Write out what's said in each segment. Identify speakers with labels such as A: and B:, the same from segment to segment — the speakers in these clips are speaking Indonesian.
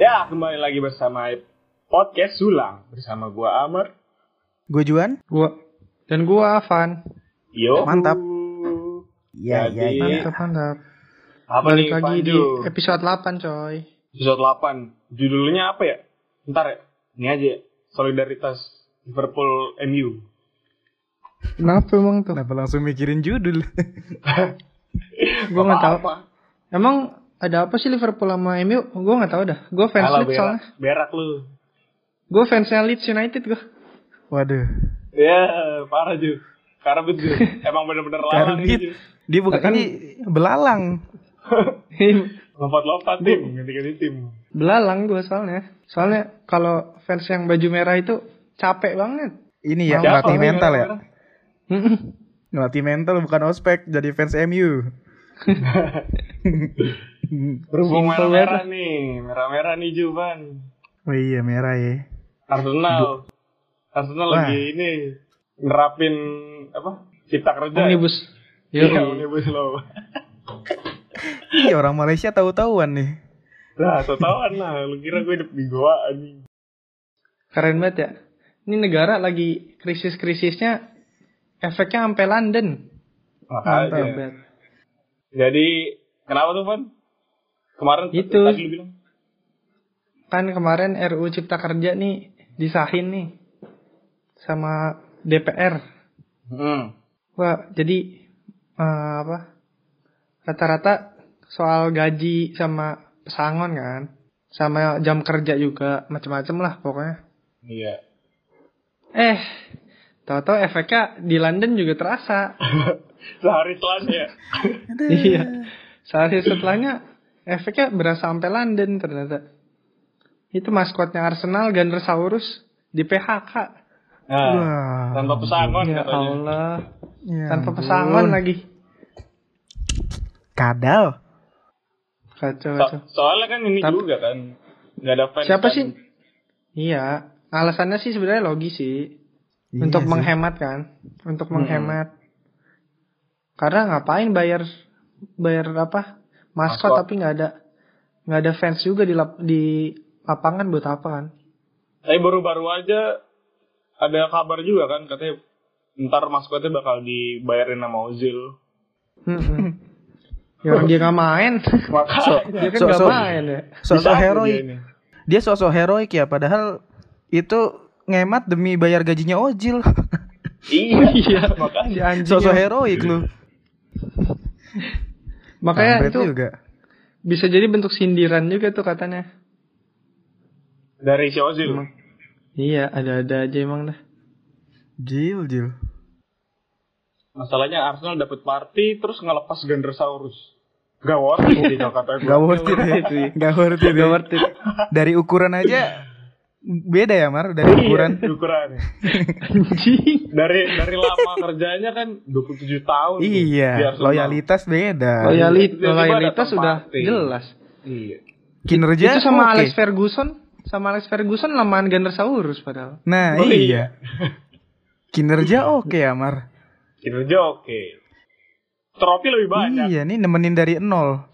A: Ya, kembali lagi bersama podcast Sulang bersama gua Amr.
B: Gue Juan.
C: Gua dan gua Avan.
A: Yo.
B: Mantap.
A: Ya,
B: Iya, iya,
A: Jadi-
B: iya.
C: Mantap, mantap.
A: Apa
C: Balik
A: nih
C: lagi di
A: Pandu?
C: episode 8, coy.
A: Episode 8. Judulnya apa ya? Ntar ya. Ini aja ya. Solidaritas Liverpool MU.
C: Kenapa emang tuh?
B: Kenapa langsung mikirin judul?
C: Gua nggak tahu. Emang ada apa sih Liverpool sama MU? Gua nggak tahu dah. Gua fans
A: Alah
C: Leeds
A: berak,
C: soalnya.
A: berak lu.
C: Gua fansnya Leeds United gua.
B: Waduh.
A: Ya, parah Ju. Karbit Ju. Emang bener-bener lawan
B: Karbit.
A: ini Ju.
B: Dia bukan
C: Bahkan-
B: ini belalang.
A: Lompat-lompat tim, ganti-ganti tim.
C: Iya, Belalang gua soalnya. Soalnya kalau fans yang baju merah itu capek banget.
B: Ini ya
C: Siapa
B: ngelatih
A: lu
B: mental ya.
A: merah-merah?
C: Mm-mm.
B: Ngelatih mental bukan ospek jadi fans MU.
A: Berhubung
C: Simple
A: merah-merah nih. Merah-merah nih Juban.
B: Oh iya merah ya.
A: Arsenal. Arsenal
B: Wah.
A: lagi ini nerapin apa? Cipta kerja. ya?
C: Omnibus. Yo.
A: Iya, omnibus law.
B: Iya orang Malaysia tahu-tahuan nih.
A: Nah, totalan lah. Lu kira gue hidup di Goa anjing.
C: Keren banget ya. Ini negara lagi krisis-krisisnya efeknya sampai London. Keren
A: Makanya.
C: banget.
A: Jadi, kenapa tuh, Van? Kemarin t-
C: Itu.
A: tadi lu bilang.
C: kan kemarin RUU Cipta Kerja nih disahin nih sama DPR.
A: Hmm.
C: Wah, jadi eh, apa? Rata-rata soal gaji sama pesangon kan, sama jam kerja juga macam-macam lah pokoknya.
A: Iya.
C: Eh, tahu-tahu efeknya di London juga terasa.
A: Sehari telan ya.
C: iya. Sehari setelahnya efeknya berasa sampai London ternyata. Itu maskotnya Arsenal Gunnersaurus di PHK.
A: Nah,
B: Wah.
A: tanpa pesangon
C: Ya
A: katanya.
C: Allah.
B: Ya
C: Tanpa
B: ampun.
C: pesangon lagi.
B: Kadal.
C: Kacau,
A: So-
C: kacau.
A: soalnya kan ini
C: Tapi-
A: juga kan. Gak ada fans.
C: Siapa
A: kan.
C: sih? Iya, alasannya sih sebenarnya logis sih.
B: Iya
C: untuk
B: sih.
C: menghemat kan. Untuk menghemat. Karena ngapain bayar bayar apa? Maskot,
A: Maskot.
C: tapi nggak ada nggak ada fans juga di lap- di lapangan buat apa kan?
A: Tapi baru-baru aja ada kabar juga kan katanya ntar maskotnya bakal dibayarin sama Ozil.
C: Mm-mm. ya orang dia nggak main.
A: Maka
C: dia kan
B: Iya. So-
C: nggak
B: so-
C: main ya.
B: Sosok
A: Bisa
B: heroik.
A: dia ini.
B: Dia sosok heroik ya padahal itu ngemat demi bayar gajinya Ojil.
A: Iya, iya. Makanya.
C: Si anjing
B: sosok
C: yang-
B: heroik lu.
C: Makanya
B: Kampret
C: itu
B: juga.
C: bisa jadi bentuk sindiran juga tuh katanya.
A: Dari si Ozil.
C: Emang. Iya, ada-ada aja emang dah.
B: Jil, Jil.
A: Masalahnya Arsenal dapat party terus ngelepas Gandersaurus. Gak worth it sih kalau kata Iya, gue.
B: Iya. Gak worth it ya. Gak worth it. ya. Dari ukuran aja beda ya Mar dari ukuran.
A: Iya, ukuran.
C: Anjing.
A: Dari dari lama kerjanya kan 27 tahun. tuh, di
B: Iya,
A: Arsenal.
B: loyalitas beda.
C: Loyali-
A: Tiba-tiba
C: loyalitas
A: datang
C: sudah
A: party.
C: jelas.
A: Iya.
B: Kinerja
C: itu sama
B: oke.
C: Alex Ferguson, sama Alex Ferguson lamaan Gandersaurus padahal.
B: Nah,
A: Oh,
B: iya. Kinerja oke ya Mar.
A: Kinerja oke. Trofi lebih banyak.
B: Iya, nih nemenin dari nol.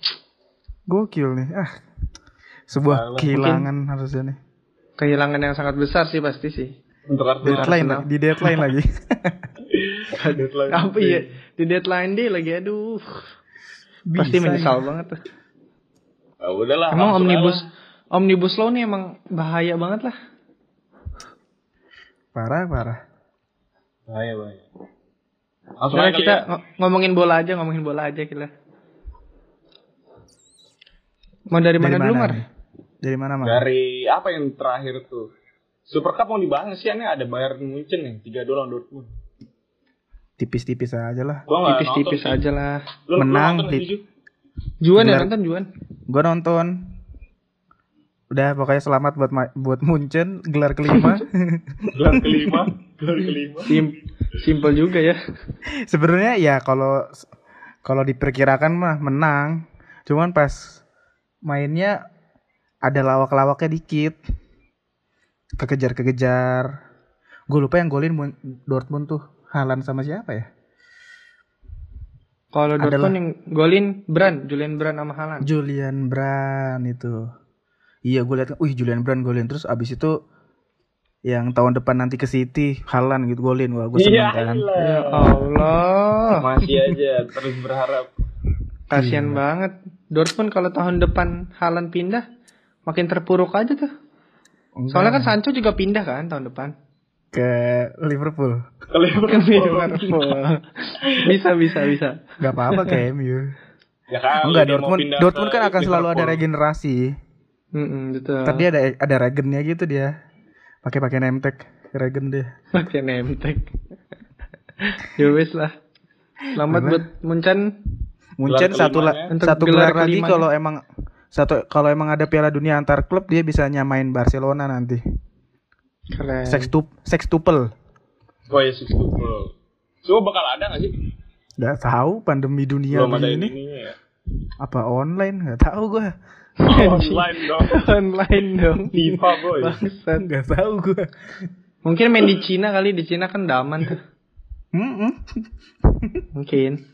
B: Gokil nih. Ah.
A: Salah.
B: Sebuah
A: Mungkin-
B: kehilangan harusnya nih.
C: Kehilangan yang sangat besar sih pasti sih.
A: Untuk Arsenal.
B: Deadline lagi, di deadline lagi.
A: Deadline.
C: Apa ya? Di deadline day lagi aduh. pasti
B: Bisa, ya.
C: menyesal banget tuh.
A: Ah, udahlah.
C: Emang
A: langsung
C: omnibus
A: aja.
C: omnibus law nih emang bahaya banget lah.
B: ya. Parah, parah.
A: Bahaya, bahaya. Ah, iya, Langsung
C: Karena
A: aja
C: kita
A: kita...
C: ngo- ngomongin bola aja, ngomongin bola aja kita. Mau dari mana dulu, Mar?
B: nih? Dari mana, Mar?
A: Dari apa yang terakhir tuh? Super Cup mau dibahas sih, ini ada Bayern Munchen nih, 3 dolar Dortmund.
B: tipis-tipis aja lah.
A: Gua nggak
C: tipis-tipis
A: Oh, eh, nonton sih.
C: aja lah
A: Lu- lu
B: Menang,
A: nonton nggak,
B: Tit.
A: Ju?
C: Juan ya
B: Bener.
C: nonton Juan
B: Gue nonton. Udah pokoknya selamat buat ma- buat Munchen gelar kelima.
A: Gelar kelima, gelar kelima.
C: Sim simple juga ya
B: Sebenarnya ya kalau kalau diperkirakan mah menang. Cuman pas mainnya ada lawak-lawaknya dikit. Kekejar-kekejar. Gue lupa yang golin Mun- Dortmund tuh. Halan sama siapa ya?
C: kalau
B: Adalah.
C: Dortmund yang golin Brand Julian Brand sama Haaland
B: Julian Brand itu. Iya gue lihat, wih Julian Brand golin terus abis itu yang tahun depan nanti ke City Halan gitu golin wah gue seneng
A: Iya,
B: kan.
A: lah.
C: ya
B: Iya.
C: Allah
A: Masih aja terus berharap.
C: kasihan banget Dortmund kalau tahun depan Haaland pindah makin terpuruk aja tuh soalnya kan Sancho juga pindah kan tahun depan
B: ke Liverpool
A: Kalau yang
C: Kan
A: berkembang.
C: Liverpool. bisa bisa bisa
B: Gak apa-apa ke MU.
A: Ya kan,
B: Enggak
A: dia mau
B: Dortmund,
A: pindah
B: Dortmund
A: ke
B: kan akan selalu ada
A: Liverpool. Nah.
B: regenerasi.
C: Mm-mm, betul
B: Tadi ada ada regennya gitu dia. Pakai pakai nemtek regen deh.
C: pakai name tag ya wes lah selamat
B: Apa?
C: buat Muncan
B: Munchen
A: Gelar
B: satu la-
A: kelimanya.
B: satu
C: Untuk gelar
B: gelar lagi
C: kelimanya.
B: kalau emang satu kalau emang ada Piala Dunia antar klub dia bisa nyamain Barcelona
A: Eh.
B: nanti.
C: keren
B: Sextup sextuple.
A: Oh ya, six football. Cuma bakal ada nggak sih?
B: Gak tahu pandemi dunia
A: Belum ada ya. ini.
B: begini apa online nggak tahu gua
A: Online Iya. dong.
C: online dong
A: FIFA boy.
C: Bangsat.
B: nggak tahu gua
C: mungkin main di Cina kali di Cina kan daman tuh
B: Mm-mm.
C: mungkin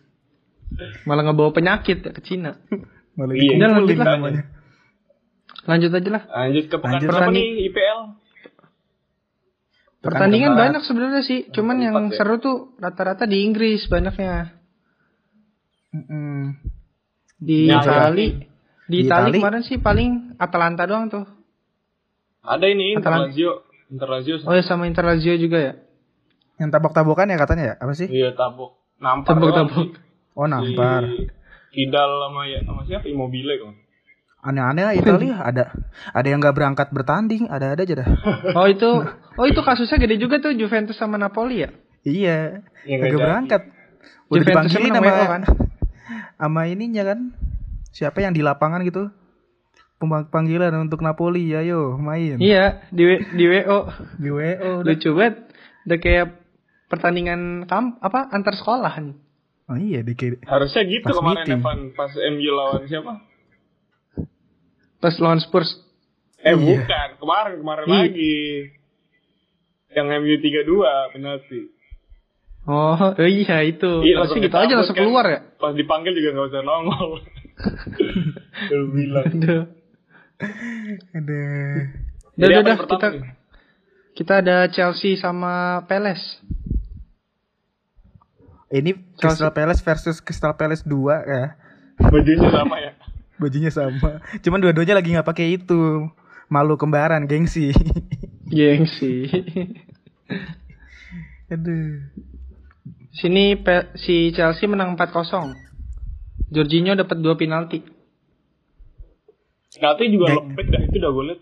C: malah ngebawa penyakit ya ke Cina
B: malah
A: Iya,
B: dikumpulin
C: lanjut lah.
B: namanya
C: lanjut aja lah
A: Lanjut ke pekan
B: Lanjut,
A: berapa
C: Rani.
A: nih IPL?
B: Pekan
C: pertandingan
B: keempat.
C: banyak sebenarnya sih cuman yang
A: Empat ya.
C: seru tuh rata-rata di Inggris banyaknya
B: Mm-mm.
C: di
A: Ya,
C: Itali
A: ya.
B: Di
C: di Itali
B: Itali.
C: kemarin sih paling Atalanta doang tuh
A: Ada ini Inter
C: Atalan-
A: Lazio. Inter Lazio.
C: oh ya sama Inter Lazio juga ya
B: yang tabok-tabokan ya katanya ya apa sih
A: Iya, tabok. Nampar. doang
C: tabok-tabok
A: sih.
B: oh
A: Si
B: nampar
A: Kidal sama ya sama siapa? Immobile kan.
B: aneh-aneh lah Italia ada ada yang nggak berangkat bertanding ada ada aja dah
C: Oh itu, oh itu kasusnya gede juga tuh Juventus sama Napoli ya.
B: iya
A: Iya, nggak
B: nggak
A: jadi.
B: berangkat udah
C: Juventus
B: dipanggilin
C: menang
B: sama
C: WO kan?
B: sama ininya kan siapa yang di lapangan gitu Pemang- panggilan untuk Napoli ayo main
C: Iya Oh, di W- di WO
B: di E. WO udah.
C: lucu banget. Udah kayak pertandingan kam apa antar sekolahan.
B: oh iya di kiri
A: Harusnya gitu
B: Pas
A: kemarin
B: meeting.
A: Evan pas MU lawan siapa?
C: Pas lawan Spurs.
A: Eh
B: Iya.
A: bukan, kemarin kemarin
C: Iya.
A: lagi. Yang MU 32 penalti.
C: Oh oh iya itu.
A: Iya, langsung
C: Harusnya gitu aja
A: dicabut
C: langsung
A: kan.
C: keluar ya.
A: Pas dipanggil juga nggak usah nongol. Lu bilang.
C: Aduh.
B: Ada.
C: Udah
A: Jadi
C: udah
A: apa
C: udah,
A: yang pertama
C: kita
A: nih?
C: kita ada Chelsea sama Peles.
B: Ini
C: Chelsea.
B: Crystal Palace versus Crystal Palace 2 ya.
A: Bajunya sama ya.
B: Bajunya sama. Cuman dua-duanya lagi nggak pakai itu. Malu kembaran, gengsi.
C: Gengsi.
B: Aduh.
C: Sini Pe- si Chelsea menang 4-0. Jorginho dapat dua penalti.
A: Nanti juga
B: Gak-
A: lopet dah itu udah gue liat.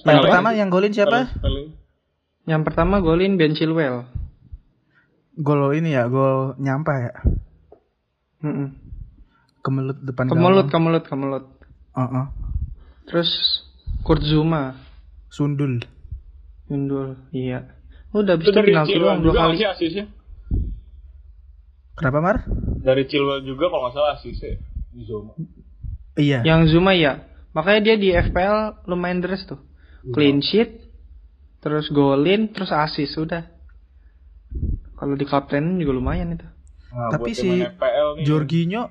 B: Yang
A: Palace.
B: pertama yang golin siapa?
A: Paling
C: Yang pertama golin Ben Chilwell.
B: Gol ini ya, gol nyampa ya.
C: Mm-mm.
B: Kemelut depan
C: Kemelut,
B: gawang.
C: kemelut, kemelut.
B: Heeh.
C: Terus Kurt Zuma
B: Sundul.
C: Yundul, iya.
A: itu
C: Udah habis itu
A: dari
C: penalti
A: Chilwell
C: doang dua
A: juga
C: kali.
A: masih asisnya.
B: Kenapa, Mar?
A: Dari Chilwell juga kalau nggak salah asisnya di Zoma.
B: Iya.
C: Yang Zuma ya. Makanya dia di FPL lumayan deres tuh.
B: Iya.
C: Clean sheet, terus golin, terus asis udah. Kalau di kapten juga lumayan itu.
A: Nah,
B: Tapi
A: buat yang
B: si
A: main FPL nih,
B: Jorginho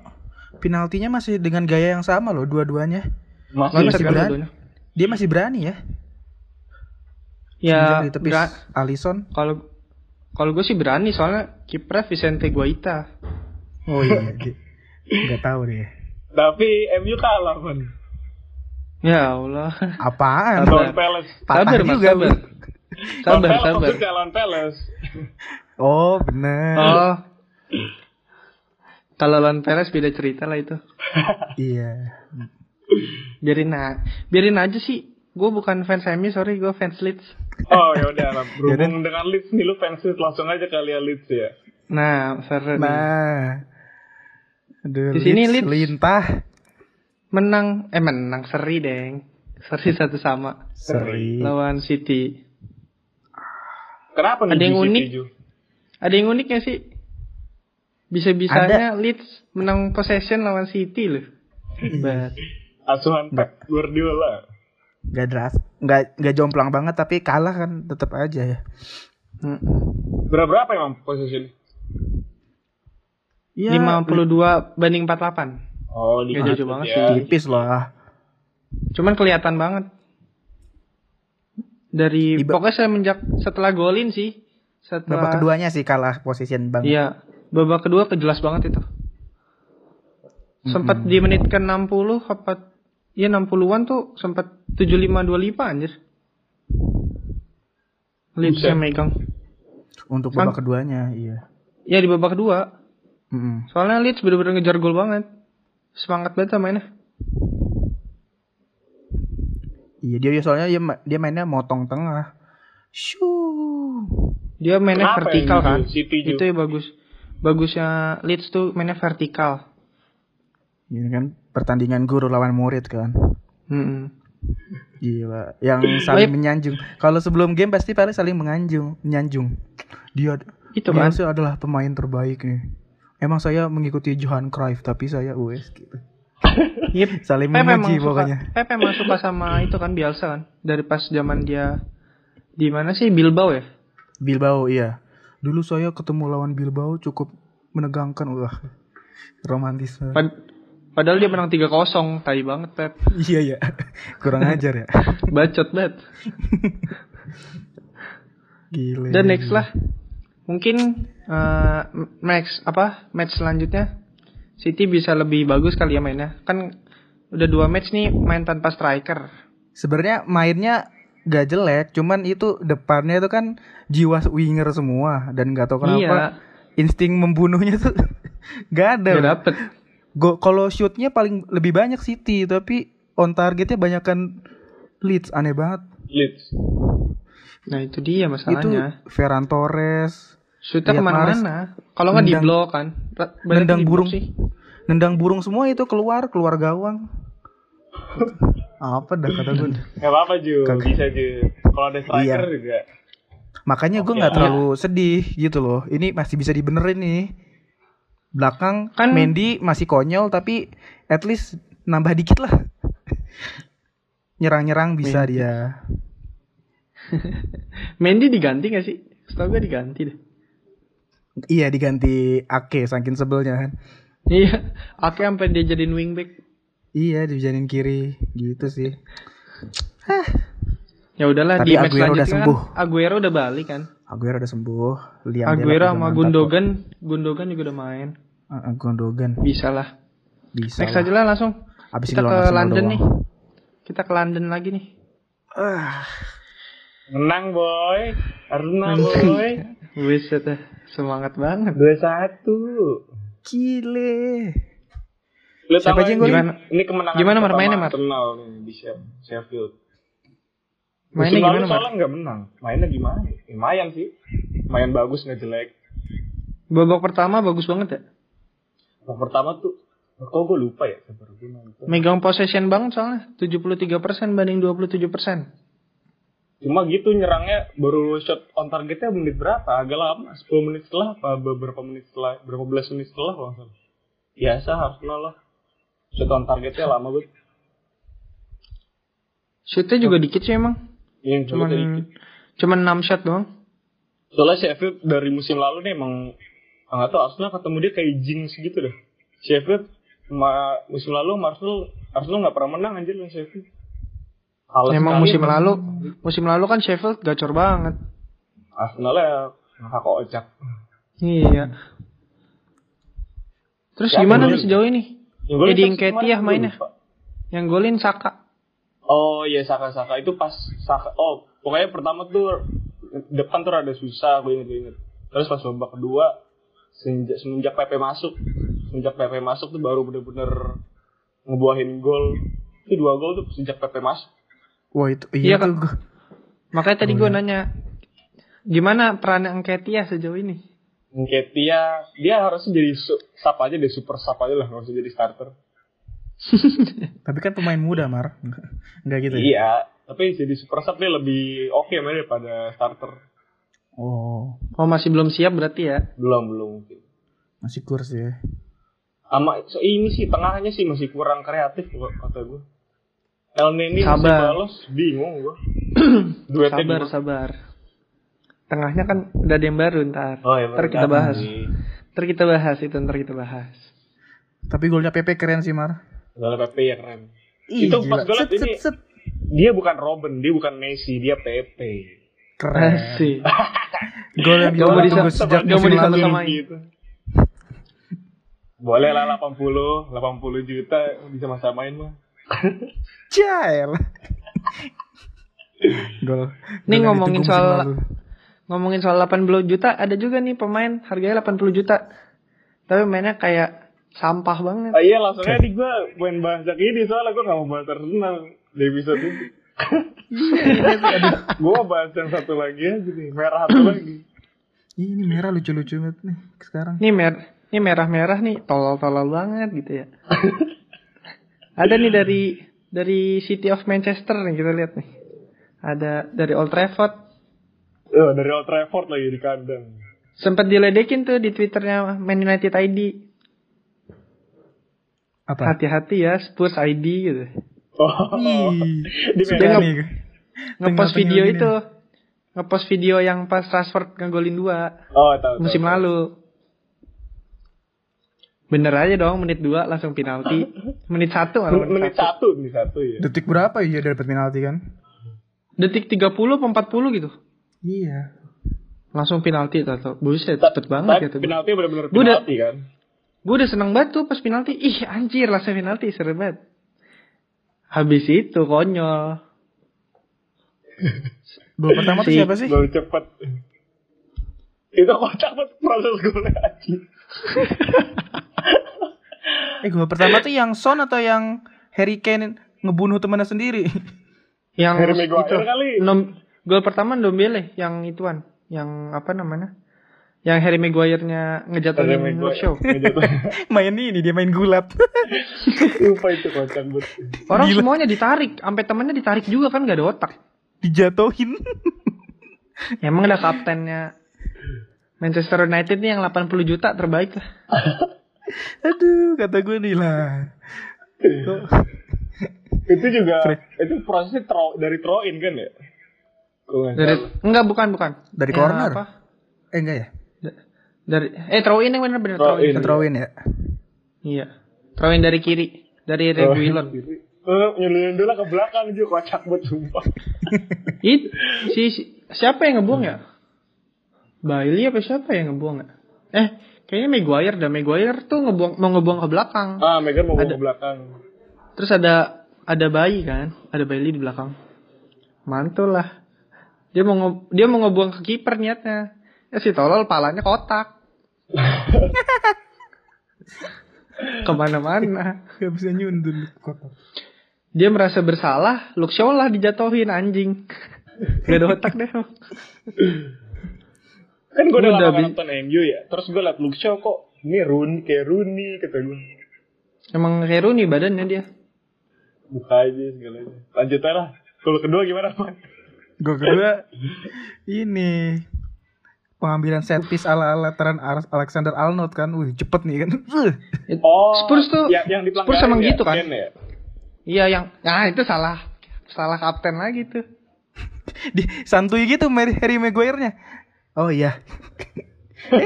B: penaltinya masih dengan gaya yang sama loh dua-duanya.
A: masih
B: Loncat
C: Loncat kan
B: berani.
C: dua-duanya.
B: Dia masih berani ya.
C: Ya,
B: Menjadi tepis
C: bera-
B: Alisson.
C: kalau kalau gue sih berani soalnya kiprah Vicente Guaita.
B: Oh iya. dia- Nggak tahu deh.
A: Tapi MU kalah kan.
C: Nah. Ya Allah.
B: Apaan?
C: Sabar.
A: Lawan Palace.
B: Patah
C: Sabar, Mas,
B: juga,
C: sabar.
B: Bu.
A: Lawan
C: Sabar,
A: Palace
C: sabar.
A: maksudnya lawan Palace.
B: Oh bener
C: Oh. Kalau lawan Perez beda cerita lah itu.
B: Iya
C: Biarin a- biarin aja sih. Gue bukan fans MU, sorry, gue fans Leeds.
A: Oh ya udah, berhubung dengan Leeds nih lu fans Leeds langsung aja kali ya Leeds ya.
C: Nah, Ferrer nih.
B: Nah. Aduh,
C: Di sini
B: Leeds
C: Leeds.
B: lintah
C: menang, eh menang seri deng, seri satu sama
B: seri.
C: lawan City.
A: Kenapa nih
C: Ada yang
A: GCP,
C: unik?
A: Ju?
C: Ada yang unik gak sih? Bisa-bisanya Leeds menang possession lawan City loh. But,
A: Asuhan Pep Guardiola.
B: Gak deras, gak gak jomplang banget tapi kalah kan tetap aja ya.
A: Berapa berapa emang posisinya?
B: Iya.
C: 52 banding 48.
A: Oh, di
C: Ya, jauh banget
A: ya.
C: sih.
B: Tipis Ah, lah.
C: Cuman kelihatan banget. Dari
B: Di ba-
C: pokoknya semenjak setelah golin sih. Setelah
B: Babak keduanya sih kalah position banget.
C: Iya, babak kedua kejelas banget itu. Sempat di menit ke 60 apa ya 60-an tuh sempat 7525 anjir. Leeds
A: Buset.
C: yang megang.
B: Untuk
C: Sang-
B: babak keduanya, iya.
C: Ya di babak kedua,
B: Mm-mm.
C: soalnya Leeds bener-bener ngejar gol banget. Semangat banget sama mainnya.
B: Iya dia dia soalnya dia, ma- dia mainnya motong tengah. Shoo.
C: Dia mainnya
A: Kenapa
C: vertikal
A: yang
C: kan.
A: di City juga?
C: Itu ya bagus. Bagusnya Leeds tuh mainnya vertikal.
B: Ini kan pertandingan guru lawan murid kan.
C: Mm-mm.
B: Gila, yang saling
C: Wait.
B: menyanjung. Kalau sebelum game pasti paling saling menganjung, menyanjung. Dia
C: Itu
B: dia
C: kan.
B: sih adalah pemain terbaik nih. Emang saya mengikuti Johan Cruyff tapi saya US gitu.
C: Yep.
B: Saling
C: kan. Pep emang
B: memuji
C: suka,
B: pokoknya.
C: Pep emang suka sama itu kan biasa kan dari pas zaman dia di mana sih Bilbao ya?
B: Bilbao iya. Dulu saya ketemu lawan Bilbao cukup menegangkan wah. Romantis. banget.
C: Pad- padahal dia menang 3-0, tai banget Pep.
B: Iya ya. Kurang ajar ya.
C: Bacot banget.
B: Gila.
C: Dan next lah. Mungkin eh, next apa? Match selanjutnya City bisa lebih bagus kali ya mainnya. Kan udah dua match nih main tanpa striker.
B: Sebenarnya mainnya gak jelek, cuman itu depannya itu kan jiwa winger semua dan gak tahu kenapa insting membunuhnya tuh gak ada.
C: Iya, gak dapet.
B: Go- kalau shootnya paling lebih banyak City, tapi on targetnya banyakkan Leeds aneh banget.
A: Leeds.
C: Nah itu dia masalahnya.
B: Itu Ferran Torres,
C: Shootnya
B: Riyad
C: kemana-mana. Kalau nggak di
B: nendang-
C: blok kan. Ra- banyak
B: nendang
C: di blok
B: burung.
C: sih.
B: nendang burung semua itu keluar keluar gawang. Apa dah kata gue?
A: Gak apa-apa Ju,
B: Kagak.
A: bisa Ju. Kalau ada striker
B: Iya.
A: juga.
B: Makanya gue
A: Oke,
B: nggak
A: iya.
B: terlalu sedih gitu loh. Ini masih bisa dibenerin nih. Belakang
C: Kan-
B: Mendy masih konyol tapi at least nambah dikit lah. Nyerang-nyerang bisa
C: Mendy.
B: dia.
C: Mendy diganti gak sih? Setahu gue diganti deh.
B: Iya diganti Ake saking sebelnya kan.
C: Iya, Ake sampai dia jadiin wingback.
B: Iya dijadiin kiri gitu sih.
C: Ya udahlah
B: Tapi
C: di match
B: Aguero udah
C: selanjutnya kan
B: sembuh.
C: Aguero udah balik kan.
B: Aguero udah sembuh. Liam
C: Aguero
B: Delap juga
C: sama
B: mantap
C: Gundogan, Gundogan juga udah main.
B: kok. Uh, uh, Gundogan
C: Bisa lah.
B: bisa.
C: Next
B: lah.
C: aja lah langsung.
B: Abis
C: Kita
B: ini lawan
C: ke
B: Arsenal
C: London
B: doang.
C: nih. Kita ke London lagi nih.
B: Ah,
A: Menang boy. Arsenal boy.
C: Buset dah. Semangat banget.
A: 2-1.
B: gile.
A: Lu tahu
B: Siapa aja yang
A: nggak
C: golin?
A: ini- Ini kemenangan
C: Gimana
A: pertama
C: mainnya, Mar?
A: Arsenal nih di Sheff- Sheffield.
C: Mainnya
A: Musim lalu
C: gimana, Mar?
A: soalnya nggak menang. Mainnya gimana? Lumayan sih. Main bagus nggak jelek.
C: Babak pertama bagus banget ya.
A: Yang pertama tuh Kok gue lupa ya Sabar, gue nonton.
C: Megang possession banget soalnya. 73% banding 27%.
A: Cuma gitu nyerangnya baru shot on targetnya menit berapa? Agak lama, 10 menit setelah apa beberapa menit setelah, berapa belas menit setelah kalau nggak salah. Biasa Arsenal lah. Shot on targetnya lama banget.
C: Shootnya juga dikit sih emang.
A: Yang cuma
C: Cuman cuman 6 shot doang.
A: Soalnya Sheffield dari musim lalu nih emang nggak tahu Arsenal ketemu dia kayak jinx gitu deh. Sheffield ma- musim lalu sama Arsenal Arsenal nggak pernah menang anjir sama Sheffield. Kalah
C: Emang
A: sekali
C: musim
A: sama-
C: lalu, musim lalu kan Sheffield gacor banget.
A: Arsenal ya ngakak kocak.
C: Iya. Terus
A: Siapa yang
C: gimana nih
A: golin?
C: sejauh ini?
A: Yang golin
C: Jadi
A: siapa sih
C: Nketiah
A: kemarin? Gue
C: mainnya.
A: lupa.
C: Yang golin Saka.
A: Oh iya Saka Saka itu pas Saka oh pokoknya pertama tuh depan tuh rada susah gue inget gue inget. Terus pas babak kedua semenjak, semenjak PP masuk semenjak PP masuk tuh baru bener-bener ngebuahin gol itu dua gol tuh sejak PP masuk.
B: Wah itu iya,
C: Iya, Kak.
B: tuh gua-
C: Makanya tadi gue nanya, gimana peran Nketiah ya sejauh ini?
A: Nketiah dia harusnya jadi su- sub aja deh super sub aja lah nggak usah jadi starter.
B: Tapi kan pemain muda, Mar. Enggak gitu ya?
A: Iya, tapi jadi super sub dia lebih oke mainnya daripada starter.
B: Oh,
C: Oh masih belum siap berarti ya?
A: Belum belum mungkin.
B: masih kurs ya.
A: Sama so, ini sih tengahnya sih masih kurang kreatif gua- kata gue. El Neni masih
C: Sabar.
A: balos bingung gue. Duetnya
C: Sabar
A: gimana?
C: sabar. Tengahnya kan udah ada yang baru ntar.
A: Oh, ya,
C: ntar kita
A: benar.
C: bahas.
A: Di-
C: Ntar kita bahas itu ntar kita bahas.
B: Tapi golnya PP keren sih, Mar.
A: Dalam PP ya keren.
B: Ih,
A: Itu pas
B: gila.
A: golnya
B: Set, set,
A: ini-
B: set.
A: Dia bukan Robin, dia bukan Messi, dia PP.
B: Keren.
C: Asik.
B: Gol yang
C: Gak
B: kita
C: mau
B: tunggu
C: disam-
B: sejak
C: gak mau
B: musim lalu.
C: disama-samain.
A: Gitu. Boleh lah 80, 80 juta bisa sama-samain mah.
B: Jail. Gol.
C: Nih
B: Gol yang ditunggu
C: ngomongin
B: musim
C: soal-
B: lalu.
C: Ngomongin soal 80 juta, ada juga nih pemain harganya 80 juta. Tapi mainnya kayak sampah banget.
A: Ah, iya langsung aja nih gue main bahasa ini soalnya gue gak mau bahas Arsenal di episode ini. gue mau bahas yang satu lagi aja nih, merah satu lagi.
B: Ih, ini merah lucu-lucu banget nih sekarang.
C: Nih mer nih merah-merah nih tolol-tolol banget gitu ya. ada nih dari dari City of Manchester nih kita lihat nih. Ada dari Old Trafford.
A: Eh, dari Old Trafford lagi di kandang.
C: Sempat diledekin tuh di Twitternya Man United ID.
B: Apa?
C: Hati-hati ya Spurs ID gitu.
A: Oh,
B: Ih,
A: di
B: sudah
A: merah.
B: nih.
C: Ngepost video
B: Tengah-tengah
C: itu. Ngepost video yang pas Rashford ngegolin dua
A: Oh, tahu. tahu,
C: musim
A: tahu.
C: lalu. Bener aja dong menit dua langsung penalti. Menit satu malah
A: Men-
C: menit
A: Menit satu,
C: satu.
A: menit satu ya.
B: Detik berapa ya dapat penalti kan?
C: Detik 30 apa 40 gitu.
B: Iya.
C: Langsung penalti atau buset
A: Ta-
C: cepet banget ya
A: tapi
C: tuh.
A: penalti benar-benar
C: Gua udah-
A: penalti kan
C: Gue udah seneng banget tuh pas penalti. Ih anjir langsung penalti seru banget. Habis itu konyol.
B: Gol pertama tuh
C: Si-
B: siapa sih?
A: baru cepet itu kocak banget proses golnya aja
B: Eh, gol pertama tuh yang Son atau yang Harry Kane ngebunuh temannya sendiri?
C: yang
A: Harry Maguire
C: itu
A: kali.
C: nom- gol pertama Ndombele yang ituan yang apa namanya yang Harry Maguire-nya
A: Harry
C: ngejatuhin
A: Maguire.
C: show
A: Ngejatuhin.
B: main ini dia main gulat.
A: lupa itu kocak banget
C: orang
B: Gila.
C: semuanya ditarik sampai temennya ditarik juga kan gak ada otak
B: Dijatuhin.
C: emang ada kaptennya Manchester United nih yang 80 juta terbaik lah
B: Aduh, kata gue nih lah.
A: itu juga
B: Fre-
A: itu prosesnya throw, dari throw in kan ya Gua nggak
C: dari
A: salah.
C: enggak bukan bukan
B: Dari
C: Ya,
B: corner?
C: apa?
B: Eh enggak ya?
C: dari eh throw in yang bener bener
A: Throw
C: throw in
A: in.
B: Throw in ya.
C: iya throw in dari kiri dari
A: Throw in
C: Reguilon
A: kiri. Eh, nyelilin dulu lah ke belakang juga kocak banget sumpah
C: It, si, si- siapa yang ngebuang ya? Bailey apa siapa yang ngebuang ya? Eh, kayaknya Maguire dah. Maguire tuh ngebuang mau ngebuang ke belakang.
A: ah Megan mau
C: Ada.
A: bawa ke belakang
C: Terus ada ada bayi kan? Ada Bailey di belakang. Mantul lah. Dia mau nge- dia mau ngebuang ke kiper niatnya. Eh si tolol palanya kotak. Kemana-mana.
B: Gak bisa nyundul kotak.
C: Dia merasa bersalah, Luke Shaw lah dijatuhin anjing. Gak ada otak deh.
A: kan gue udah
C: Udah,
A: lama nggak
C: Bi.
A: nonton MU ya terus gue liat Luke Shaw kok ini Rooney kayak Rooney kata gue
C: Emang kayak Rooney badannya dia.
A: buka aja segalanya lanjut aja lah kalau kedua gimana man
B: Gol kedua ini pengambilan set piece ala ala Trent Ar- Alexander Arnold kan. Wih, cepet nih kan. Uh,
A: Oh,
C: Spurs tuh
A: ya- yang di
C: Spurs
A: pelanggaran
C: emang
A: ya,
C: gitu kan.
A: Ken ya?
C: Iya yang nah itu salah salah kapten lagi tuh.
B: di santuy gitu Mary- Harry Maguire-nya. Oh iya. eh,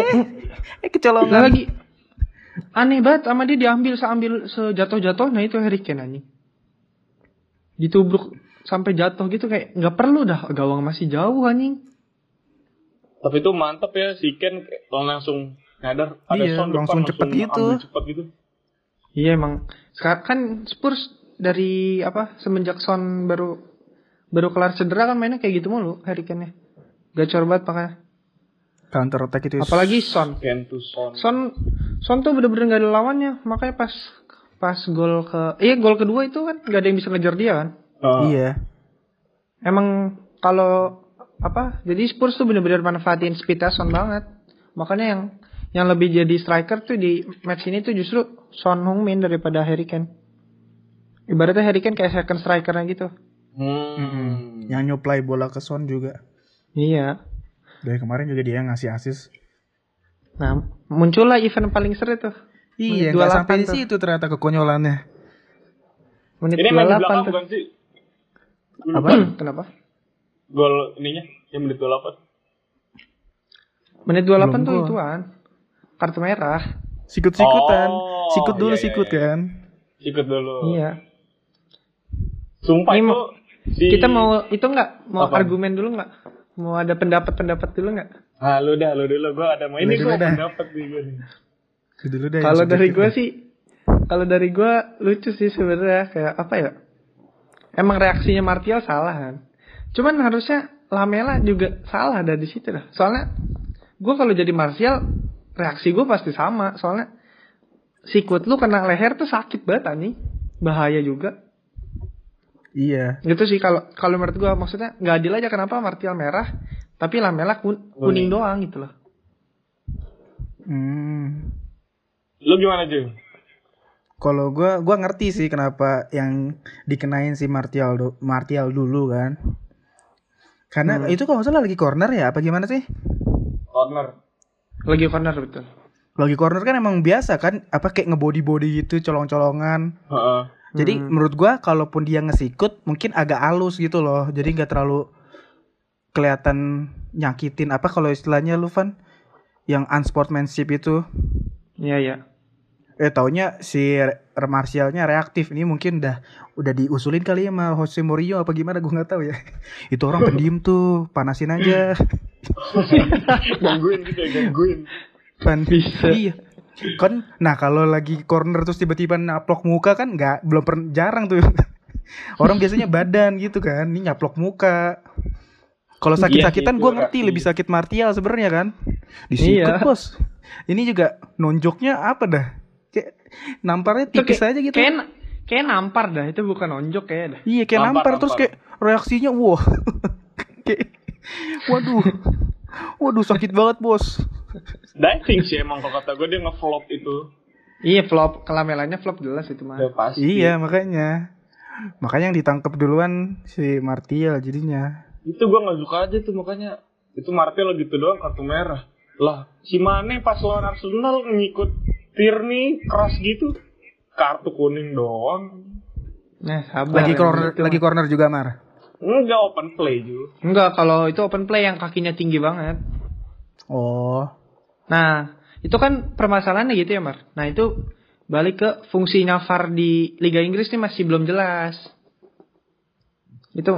B: eh
C: Nah,
B: kecolongan.
C: lagi aneh banget sama dia diambil seambil sejatuh jatuh nah itu Harry Kane anjing. Ditubruk sampai jatuh gitu kayak nggak perlu dah gawang masih jauh anjing.
A: Tapi itu mantep ya si Ken kayak langsung nyadar ada
B: Iya,
A: sound
B: langsung
A: depan,
B: cepet gitu.
A: ambil cepet gitu.
C: Iya emang sekarang kan Spurs dari apa semenjak Son baru baru kelar cedera kan mainnya kayak gitu mulu Harry Kane-nya. Gacor banget makanya.
B: Counter attack itu.
C: Apalagi Son.
A: Ken tuh sound.
C: Son Son tuh bener-bener gak ada lawannya makanya pas pas gol ke iya gol kedua itu kan gak ada yang bisa ngejar dia kan
A: Ah,
B: Iya.
C: emang kalau apa jadi Spurs tuh bener-bener manfaatin speednya Son banget Makanya yang yang lebih jadi striker tuh di match ini tuh justru Son Heung-min daripada Harry Kane. Ibaratnya Harry Kane kayak second strikernya gitu.
A: Hmm.
B: Yang nyuplai bola ke Son juga.
C: Iya.
B: Dari kemarin juga dia yang ngasih asis.
C: Nah, muncullah event paling seru tuh.
B: Iya,
C: Menit
B: nggak sampai
C: 28
B: di
C: tuh.
B: situ ternyata kekonyolannya.
C: Menit
A: Ini main di
C: 28
A: belakang
C: tuh.
A: bukan sih?
B: Apa?
C: Kenapa?
A: Gol ininya yang menit 28.
C: Menit 28 tuh
B: Belum gua.
C: ituan. Kartu merah.
B: Sikut-sikutan.
A: Oh,
B: sikut dulu
A: iya, iya,
B: sikut
A: iya.
B: kan.
A: Ikut dulu.
C: Iya.
A: Sumpah
C: Ini
A: itu
C: mau-
A: si...
C: Kita mau itu nggak? Mau
A: Apaan?
C: argumen dulu nggak? Mau ada pendapat-pendapat dulu nggak?
A: Ah, lu dah, lu dulu. Gue ada mau ini gue
B: dulu dah.
A: dapat nih gue nih.
B: Itu Gitu dulu deh.
C: Kalau
B: yang
C: dari
B: subjektif
C: gue
B: deh.
C: sih, kalau dari gue lucu sih sebenarnya kayak apa ya? Emang reaksinya Martial salah kan? Cuman harusnya Lamela juga salah dari situ dah. Soalnya gue kalau jadi Martial reaksi gue pasti sama. Soalnya sikut lu kena leher tuh sakit banget anjing. Bahaya juga.
B: Iya.
C: Gitu sih kalau kalau menurut gue maksudnya nggak adil aja kenapa Martial merah tapi Lamela kun- kuning doang gitu loh.
B: Hmm.
A: Lu gimana, Ju?
B: Kalau gua gua ngerti sih kenapa yang dikenain si Martial du- Martial dulu kan. Karena
A: Hmm.
B: itu kalau nggak salah lagi corner ya apa gimana sih?
A: Corner.
C: Lagi corner betul.
B: Lagi corner kan emang biasa kan apa kayak ngebody-body gitu colong-colongan.
A: Heeh.
B: Jadi menurut gua kalaupun dia ngesikut mungkin agak halus gitu loh. Jadi nggak terlalu kelihatan nyakitin apa kalau istilahnya lu Van yang unsportsmanship itu.
C: Iya iya.
B: Eh taunya si Re- Martialnya reaktif ini mungkin udah udah diusulin kali ya sama Jose Mourinho apa gimana gue nggak tahu ya. Itu orang pendiam tuh, panasin aja.
A: gangguin gitu ya, gangguin.
B: Pan.
C: Bisa.
B: Iya. Kan nah kalau lagi corner terus tiba-tiba naplok muka kan nggak belum pernah jarang tuh. Orang biasanya badan gitu kan, ini nyaplok muka. Kalau
A: Iya
B: sakit-sakitan
A: sih,
B: gue
A: itu
B: ngerti
A: reaksi.
B: lebih sakit Martial sebenarnya kan. Disikut
C: Iya.
B: bos. Ini juga nonjoknya apa dah? Kayak namparnya tipis aja gitu.
C: Kayak kayak nampar dah itu bukan onjok kayak dah.
B: Iya kayak
A: Nampar,
B: nampar, terus
A: nampar.
B: kayak reaksinya wah. kayak waduh. Waduh sakit banget, Bos.
A: Diving sih emang kalau kata gue dia nge-flop itu.
C: Iya flop, kelamelanya flop jelas itu mah.
A: Udah pasti.
B: Iya, makanya. Makanya yang ditangkap duluan si Martial jadinya.
A: Itu gue nggak suka aja tuh makanya itu Martial gitu doang kartu merah. Lah, si Mane pas lawan Arsenal ngikut Tierney keras gitu. Kartu kuning doang.
C: Nah, sabar.
B: Lagi
C: ya,
B: corner
C: gitu.
B: lagi corner juga, Mar.
A: Enggak open play juga.
C: Enggak, kalau itu open play yang kakinya tinggi banget.
B: Oh.
C: Nah, itu kan permasalahannya gitu ya, Mar. Nah, itu balik ke fungsinya VAR di Liga Inggris nih masih belum jelas. Itu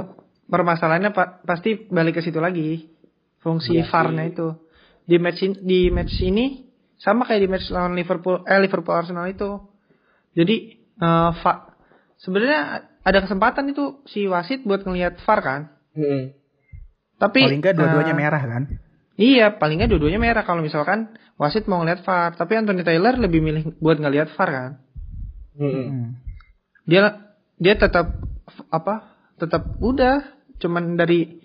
C: permasalahannya pa- pasti balik ke situ lagi. Fungsi
B: Iya
A: Berarti-
C: VAR-nya itu. Di match in- di match ini sama kayak di match lawan Liverpool eh Liverpool Arsenal itu. Jadi eh, va- sebenarnya ada kesempatan itu si wasit buat ngelihat VAR kan.
A: Hmm.
C: Tapi
B: Paling enggak dua-duanya
C: eh,
B: merah kan?
C: Iya, paling nggak dua-duanya merah kalau misalkan wasit mau ngeliat VAR, tapi Anthony Taylor lebih milih buat ngeliat VAR kan.
A: Hmm.
B: Hmm.
C: Dia dia tetap apa? Tetap udah cuman dari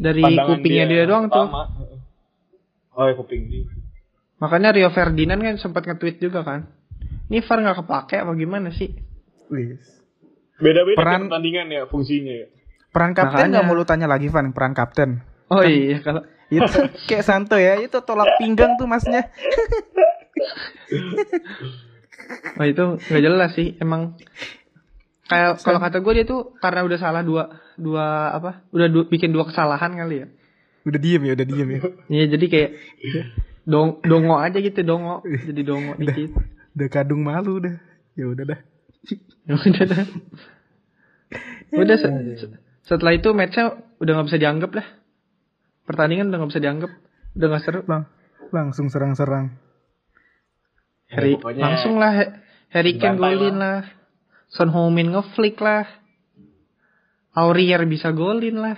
C: dari
A: Pandangan
C: kupingnya dia, doang tuh.
A: pertama. Oh, ya, kuping dia.
C: Makanya Rio Ferdinand kan sempat nge-tweet juga kan. Ini VAR nggak kepake apa gimana sih?
B: Wis.
A: Beda-beda tiap
B: Peran-
A: pertandingan ya fungsinya ya.
B: Peran kapten
C: Makanya.
B: nggak mau lu tanya lagi, Van, peran kapten.
C: Oh iya kalau
B: Itu kayak santo ya, itu tolak pinggang tuh masnya.
C: oh itu nggak jelas sih emang kayak kalau kata gue dia tuh karena udah salah dua dua apa udah du- bikin dua kesalahan kali ya
B: Udah diem ya, udah diem ya.
C: Iya jadi kayak dong dongo aja gitu dongo jadi dongo dikit.
B: Udah kadung malu dah. Ya udah dah.
C: Udah dah. Udah se- se- setelah itu matchnya udah nggak bisa dianggap lah. Pertandingan udah nggak bisa dianggap, udah nggak seru.
B: Lang- langsung serang-serang.
C: Harry,
A: pokoknya-
C: Ya, langsung lah He- Harry Kane
A: Dibantai
C: golin lah. Son Heung-min ngeflick lah. Aurier bisa golin lah.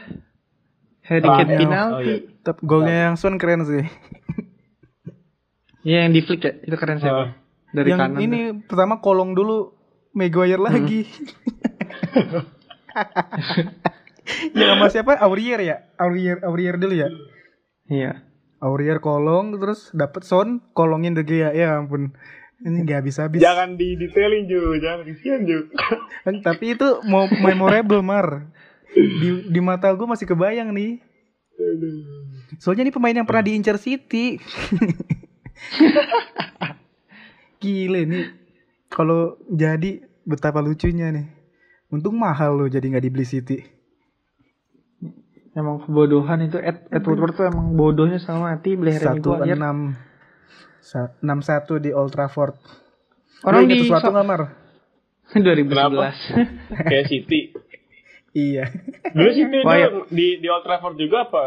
C: Harry
A: Ah,
C: Kane
A: iya.
C: penalti.
A: Oh, iya.
B: Tapi golnya yang Son keren sih.
C: Iya yang di flick ya, itu keren sih.
A: Ah.
C: Dari
B: yang
C: kanan. Hmm.
B: ini pertama kolong dulu Maguire lagi. yang sama siapa? Aurier ya? Aurier Aurier dulu ya.
C: Iya.
B: Aurier kolong terus dapat son kolongin De Gea ya ampun ini nggak habis habis
C: Ya
A: Jangan
C: kan?
A: di detailing Ju, jangan kesian Ju.
B: Kan, tapi itu mau memorable mar di, di mata gue masih kebayang nih
A: Aduh.
B: soalnya ini pemain yang pernah diincar City gile nih kalau jadi betapa lucunya nih untung mahal loh jadi nggak dibeli City
C: Emang kebodohan itu Ed, Ed Woodward tuh emang bodohnya sama mati beli Harry
B: satu
C: Maguire.
B: enam sa- enam satu di Old Trafford
C: Orang
B: Lu ingat
C: di
B: sesuatu
C: so-
B: nggak, Mar?
C: 2011.
A: Kayak City.
B: iya
A: Dulu City
C: Wah, ya.
A: itu di di Old Trafford juga apa?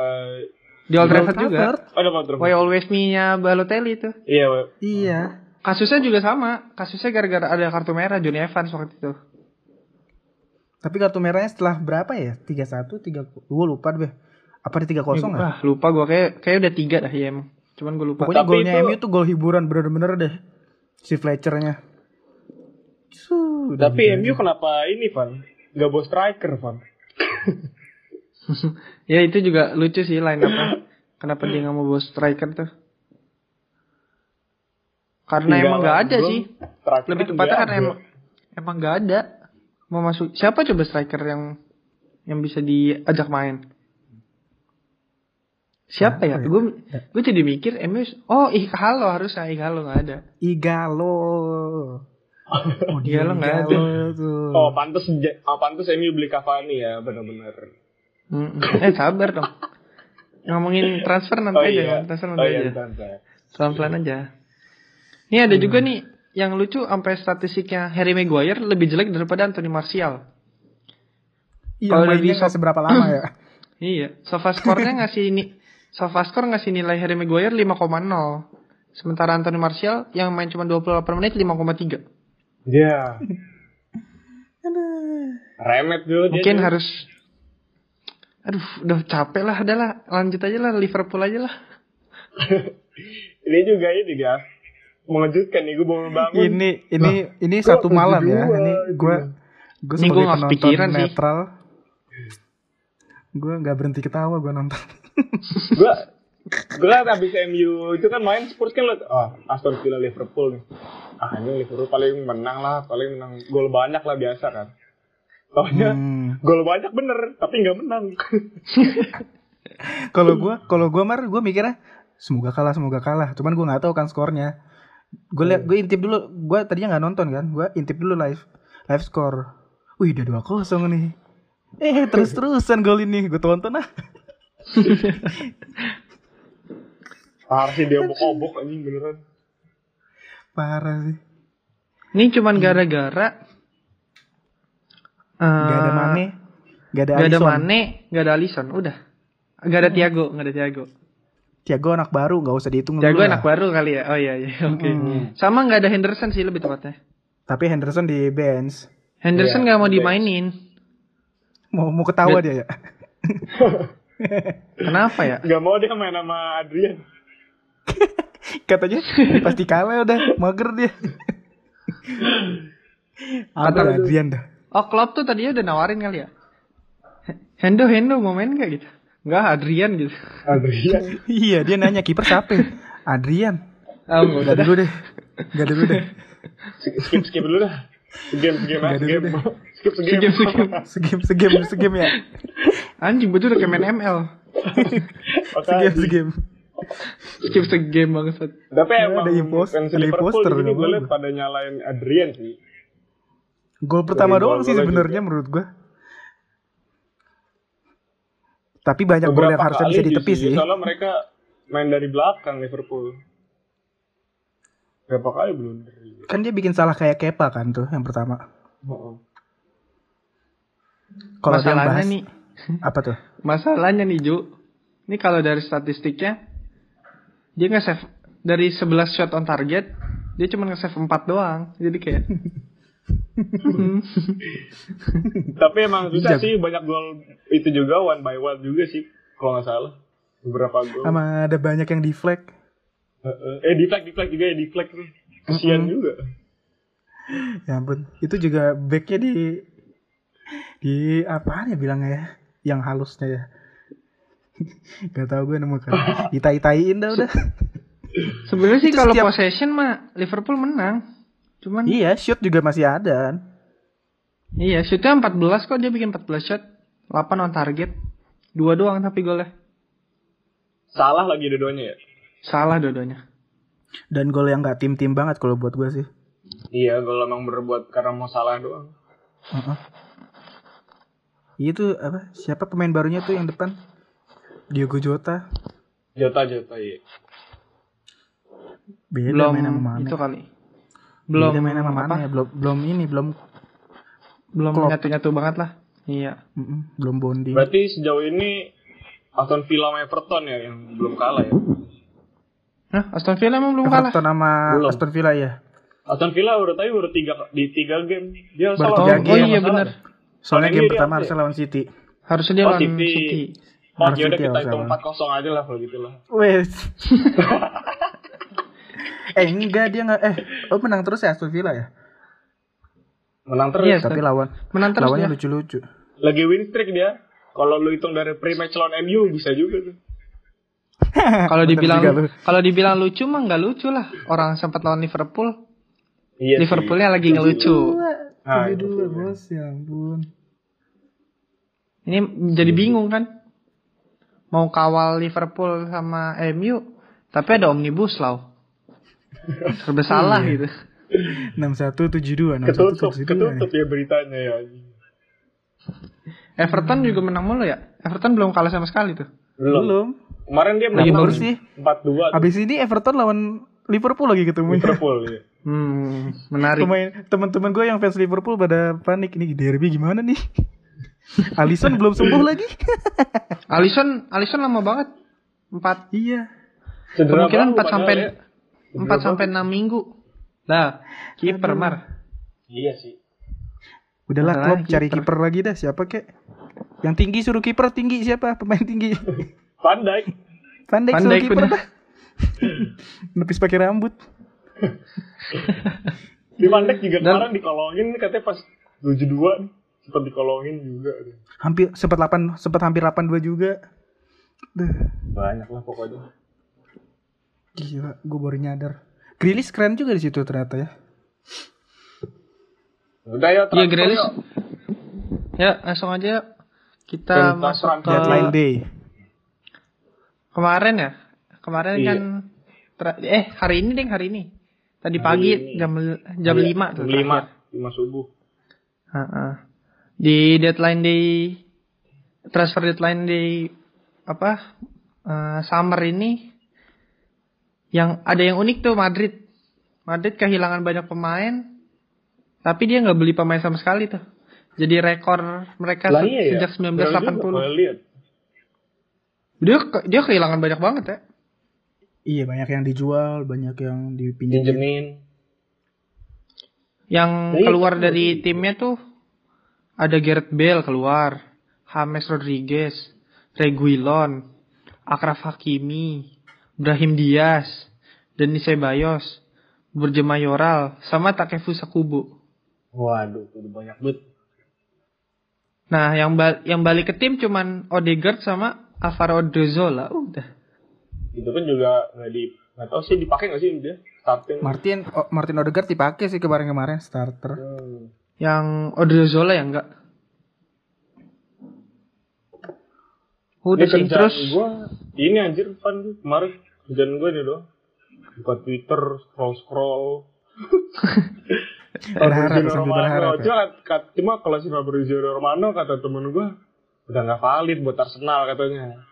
C: di Old Trafford juga.
A: Oh, di Old
C: Why
A: Trafford.
C: always me-nya Balotelli itu.
A: Iya, Wak.
B: iya
C: Kasusnya juga sama. Kasusnya gara-gara ada kartu merah Johnny Evans waktu itu.
B: tapi kartu merahnya setelah berapa ya tiga satu tiga gue lupa deh apa di tiga kosong ya
C: Ah, lupa gua kayak kayak udah tiga dah ya emang. Cuman gue lupa.
B: pokoknya
A: Tapi
B: golnya
A: itu-
B: MU tuh gol hiburan bener-bener deh si Fletchernya Su, udah
A: Tapi
B: gitu
A: MU kenapa ini, Van? Gak bawa striker, Van.
C: ya itu juga lucu sih line up Kenapa dia nggak mau bawa striker tuh? Karena Nah, emang nggak ada
A: belum.
C: sih.
A: Striker
C: Lebih
A: kan
C: tepatnya
A: nggak
C: karena
A: ada.
C: emang emang nggak ada. Mau masuk siapa coba striker yang yang bisa diajak main? Siapa
B: Siapa
C: ya?
B: ya?
C: Gue gue jadi mikir MU oh Ighalo harusnya Ighalo nggak ada.
B: Igalo oh
C: Igalo nggak ada.
B: tuh
A: Oh, pantas oh, pantas MU beli Cavani ya, benar-benar.
C: Mm-mm. Eh sabar dong. Ngomongin transfer nanti
A: Oh
C: aja,
A: iya.
C: transfer nanti
A: Oh
C: aja.
A: iya, bentar, bentar.
C: Pelan-pelan aja. Ini ada juga
B: Hmm.
C: nih yang lucu sampai statistiknya Harry Maguire lebih jelek daripada Anthony Martial.
B: Iya,
C: Kalau
B: mainnya
C: lebih
B: nggak
C: sok-
B: seberapa lama ya
C: Iya, Sofascore-nya ngasih ini Sofascore ngasih nilai Harry Maguire 5,0. Sementara Anthony Martial yang main cuma 28 menit 5,3.
A: Iya. Remet dulu dia.
C: Mungkin
A: Ju.
C: harus Aduh, udah capek lah, adalah lanjut aja lah Liverpool aja lah.
A: Ini juga ini, guys. Mengejutkan nih, gue bangun bangun.
B: ini ini ini satu
A: gua
B: malam ya
A: kedua,
B: ini gue gue sebagai
C: Ini gua nggak
B: penonton
C: kepikiran sih.
B: netral gue nggak berhenti ketawa gue nonton
A: gue gue kan abis MU itu kan main Spurs kan lo oh, Aston Villa Liverpool nih ah ini Liverpool paling menang lah paling menang gol banyak lah biasa kan soalnya
B: Hmm.
A: gol banyak bener tapi nggak menang
B: kalau gue kalau gue mar gue mikirnya semoga kalah semoga kalah cuman gue nggak tahu kan skornya gue liat
C: Iya.
B: gue intip dulu gue tadinya nggak nonton kan gue intip dulu live live score wih udah dua kosong nih eh terus terusan gol ini gue tonton ah
A: Ah, harusnya dia obok-obok anjing beneran
B: parah sih
C: Ini cuman gara-gara
B: gak ada
C: eh,
B: mane gak ada
C: Gak ada
B: Alisson.
C: Mane, gak ada Alisson, udah. Gak ada Thiago, gak ada Thiago.
B: Thiago anak baru nggak usah dihitung
C: Thiago
B: dulu lah.
C: anak baru kali ya. Oh iya iya, oke.
A: Hmm.
C: Sama gak ada Henderson sih lebih tepatnya.
B: tapi Henderson di bench
C: Henderson
A: Iya,
C: nggak mau
A: bench.
C: dimainin.
B: mau mau ketawa
C: Ben-
B: dia ya
C: Kenapa ya?
A: nggak mau dia main sama Adrian
B: katanya pasti kalah udah mager dia
C: Kata-
B: Ada Adrian dah
C: Oh Klopp tuh tadinya udah nawarin kali ya. Hendo Hendo mau main gak gitu? Enggak, Adrian gitu.
A: Adrian
B: Iya dia nanya kiper siapa ya? Adrian
C: Oh, nggak usah
B: Gak dulu deh Gak dulu deh
A: skip skip dulu dah game game
B: Nggak ada
A: game
B: deh.
A: skip
C: deh.
A: game
C: Game, game.
B: Segame segame segame ya
C: Anjing betul udah kayak main ML.
B: Segame segame
C: Skip segame banget.
A: tapi
B: Ada
A: emang
B: impost-
A: fans
B: ada
A: Liverpool
B: imposter,
A: di sini
B: nggak
A: gue
B: mau.
A: liat pada nyalain Adrian sih
B: Gol pertama
A: Dari
B: doang sih
A: gol-golnya
B: sebenarnya menurut gua Tapi banyak gol
A: Beberapa
B: yang Ya, harusnya
A: kali
B: bisa
A: di
B: ditepis
A: sini,
B: sih
A: Soalnya mereka main dari belakang Liverpool. Berapa kali blunder?
B: Kan dia bikin salah kayak Kepa kan tuh yang pertama
A: Heeh.
B: Oh. Kalau dia
C: Masalahnya
B: bahas
C: nih,
B: Apa tuh
C: Masalahnya nih Ju, ini kalau dari statistiknya dia nge-save dari 11 shot on target, dia cuma nge-save 4 doang. Jadi kayak
A: Tapi emang susah
B: Bijak.
A: sih banyak gol itu juga one by one juga sih kalau nggak salah beberapa gol.
B: Sama ada banyak yang di flag
A: Heeh. Eh di flag di flag juga ya di flag nih. Kesian juga.
B: Ya ampun Itu juga backnya di Di apaan ya bilangnya ya Yang halusnya ya Gak tau gue nemu kan. Ditai-taiin dah udah.
C: Sebenarnya sih
B: Itu
C: kalau
B: setiap-
C: possession mah Liverpool menang. Cuman
B: iya, shoot juga masih ada. kan.
C: iya shootnya 14 kok dia bikin 14 shot. 8 on target. Dua doang tapi golnya.
A: Salah lagi dua-duanya ya?
C: Salah dua-duanya.
B: Dan gol yang gak tim-tim banget kalau buat gue sih.
A: Iya, gol emang berbuat karena mau salah doang.
B: Heeh. Itu apa? Siapa pemain barunya tuh yang depan? Diogo Jota.
A: Jota-jota, iya.
B: Beda
C: Belum
B: main sama Mane.
C: itu kali.
B: belum
C: Belum
B: main sama
C: apa,
B: Mane, ya. belum belum ini, belum
C: Belum
B: Klopp.
C: nyatu-nyatu banget lah. Iya.
B: mm-mm, belum bonding.
A: Berarti sejauh ini Aston Villa sama Everton ya yang belum kalah ya.
C: Nah, Aston Villa emang belum kalah.
B: Everton sama
A: Belum.
B: Aston Villa ya.
A: Aston Villa baru tadi baru tiga di tiga game dia
B: Baru
A: salah.
B: tiga
A: orang
B: game.
A: yang
B: Oh,
C: iya,
A: salah.
C: benar.
B: Soalnya
A: Soalnya
B: game
A: dia
B: pertama
A: apa
B: harusnya
A: ya?
B: lawan City.
C: Harusnya dia
A: Oh,
C: lawan
A: City.
C: City.
A: Oh,
B: Harus
A: ya udah
B: City
A: kita
B: harus
A: hitung
B: salah.
A: empat kosong aja lah kalau gitu lah.
B: Wes. eh enggak dia enggak eh oh menang terus ya Aston Villa ya.
A: Menang terus.
C: Iya.
B: Tapi lawan
C: Menang terus
B: lawannya
C: dia.
B: lucu-lucu.
A: Lagi win streak dia. Kalau lu hitung dari pre-match lawan MU bisa juga tuh.
C: Kalau
B: Bener
C: dibilang
B: juga lu.
C: kalau dibilang lucu mah nggak lucu lah. Orang sempat lawan Liverpool.
A: Iya
C: Liverpoolnya lagi ngelucu.
A: Nah, itu
B: dua ya? bos ya ampun.
C: Ini jadi bingung kan? Mau kawal Liverpool sama MU, tapi ada omnibus law. Serba salah
B: Iya.
C: gitu.
B: 6172
A: Ketutup,
B: 6172.
A: ketutup ya beritanya ya.
C: Everton juga menang mulu ya. Everton belum kalah sama sekali tuh.
A: Belum.
B: Belum.
A: Kemarin dia
B: Lagi
A: menang
B: baru sih.
A: empat dua
B: Habis ini Everton lawan Liverpool lagi ketemu.
A: Liverpool ya.
C: Hmm, menarik.
B: Pemain teman-teman gue yang fans Liverpool pada panik ini derby gimana nih? Alisson belum sembuh lagi.
C: Alisson, Alisson lama banget. 4
B: iya.
A: Cedera
C: kemungkinan
A: baru
C: 4
A: padahal
C: sampai
A: ya.
C: 4 sampai 6 minggu. Nah, kiper
B: Aduh.
C: Mar.
A: Iya sih.
B: Udahlah
C: Udahlah,
B: klub cari
C: kiper.
B: kiper lagi dah siapa kek? Yang tinggi suruh kiper tinggi siapa? Pemain tinggi.
A: Van Dijk.
B: Van Dijk
C: Van
B: suruh
C: Dijk
B: kiper
C: bener.
B: dah. Nepis pakai rambut.
A: Di Van Dijk juga
C: Dan-
A: kemarin dikolongin katanya pas 72 nih. Sempat dikolongin juga.
B: Hampir sempat 8 sempat hampir 82 juga. Duh,
A: Banyak lah pokoknya.
B: gila, gue baru nyadar. Grilis keren juga di situ ternyata ya.
A: Udah ya,
C: Iya,
A: transfer
C: Grealish.
A: yuk.
C: Ya, langsung aja yuk. Kita
A: Dan transfer
C: masuk
A: undead lain
B: Deadline
C: ke
B: day.
C: kemarin ya kemarin
A: Iya.
C: kan tra- eh hari ini deh hari ini tadi
A: Hari
C: pagi
A: ini.
C: jam jam
A: Iya,
C: lima tuh
A: jam
C: terakhir.
A: lima, lima subuh.
C: Heeh. di deadline day transfer deadline day apa eh, summer ini yang ada yang unik tuh Madrid Madrid kehilangan banyak pemain tapi dia nggak beli pemain sama sekali tuh jadi rekor mereka se- Kan
A: ya,
C: sejak 1980
A: Gue iya lihat.
C: dia ke- dia kehilangan banyak banget ya
B: Iya banyak yang dijual, banyak yang dipinjam.
A: Pinjemin.
C: Yang
A: Jadi,
C: keluar
A: itu-
C: dari timnya tuh ada Gareth Bale keluar, James Rodriguez, Reguilon, Akraf Hakimi, Brahim Diaz, Denis Ceballos, Borja Mayoral, sama Takefusa Kubo.
A: Waduh, udah banyak banget.
C: Nah, yang bal- yang balik ke tim cuman Odegaard sama Alvaro Dozola. Udah.
A: Itu pun juga nggak di nggak tahu sih dipakai nggak sih dia starting.
B: Martin oh, Martin Odegaard dipakai sih kemarin-kemarin starter.
A: Hmm.
C: Yang Odriozola yang enggak.
A: Ini
C: Udah sih
A: kerjaan
C: terus.
A: gua, ini anjir Van kemarin kerjaan gue ini doang. Buka Twitter, scroll scroll.
B: Berharap sambil berharap. ya.
A: Cuma, kat- cuma kalau si Fabrizio Romano kata temen gue udah nggak valid buat Arsenal katanya.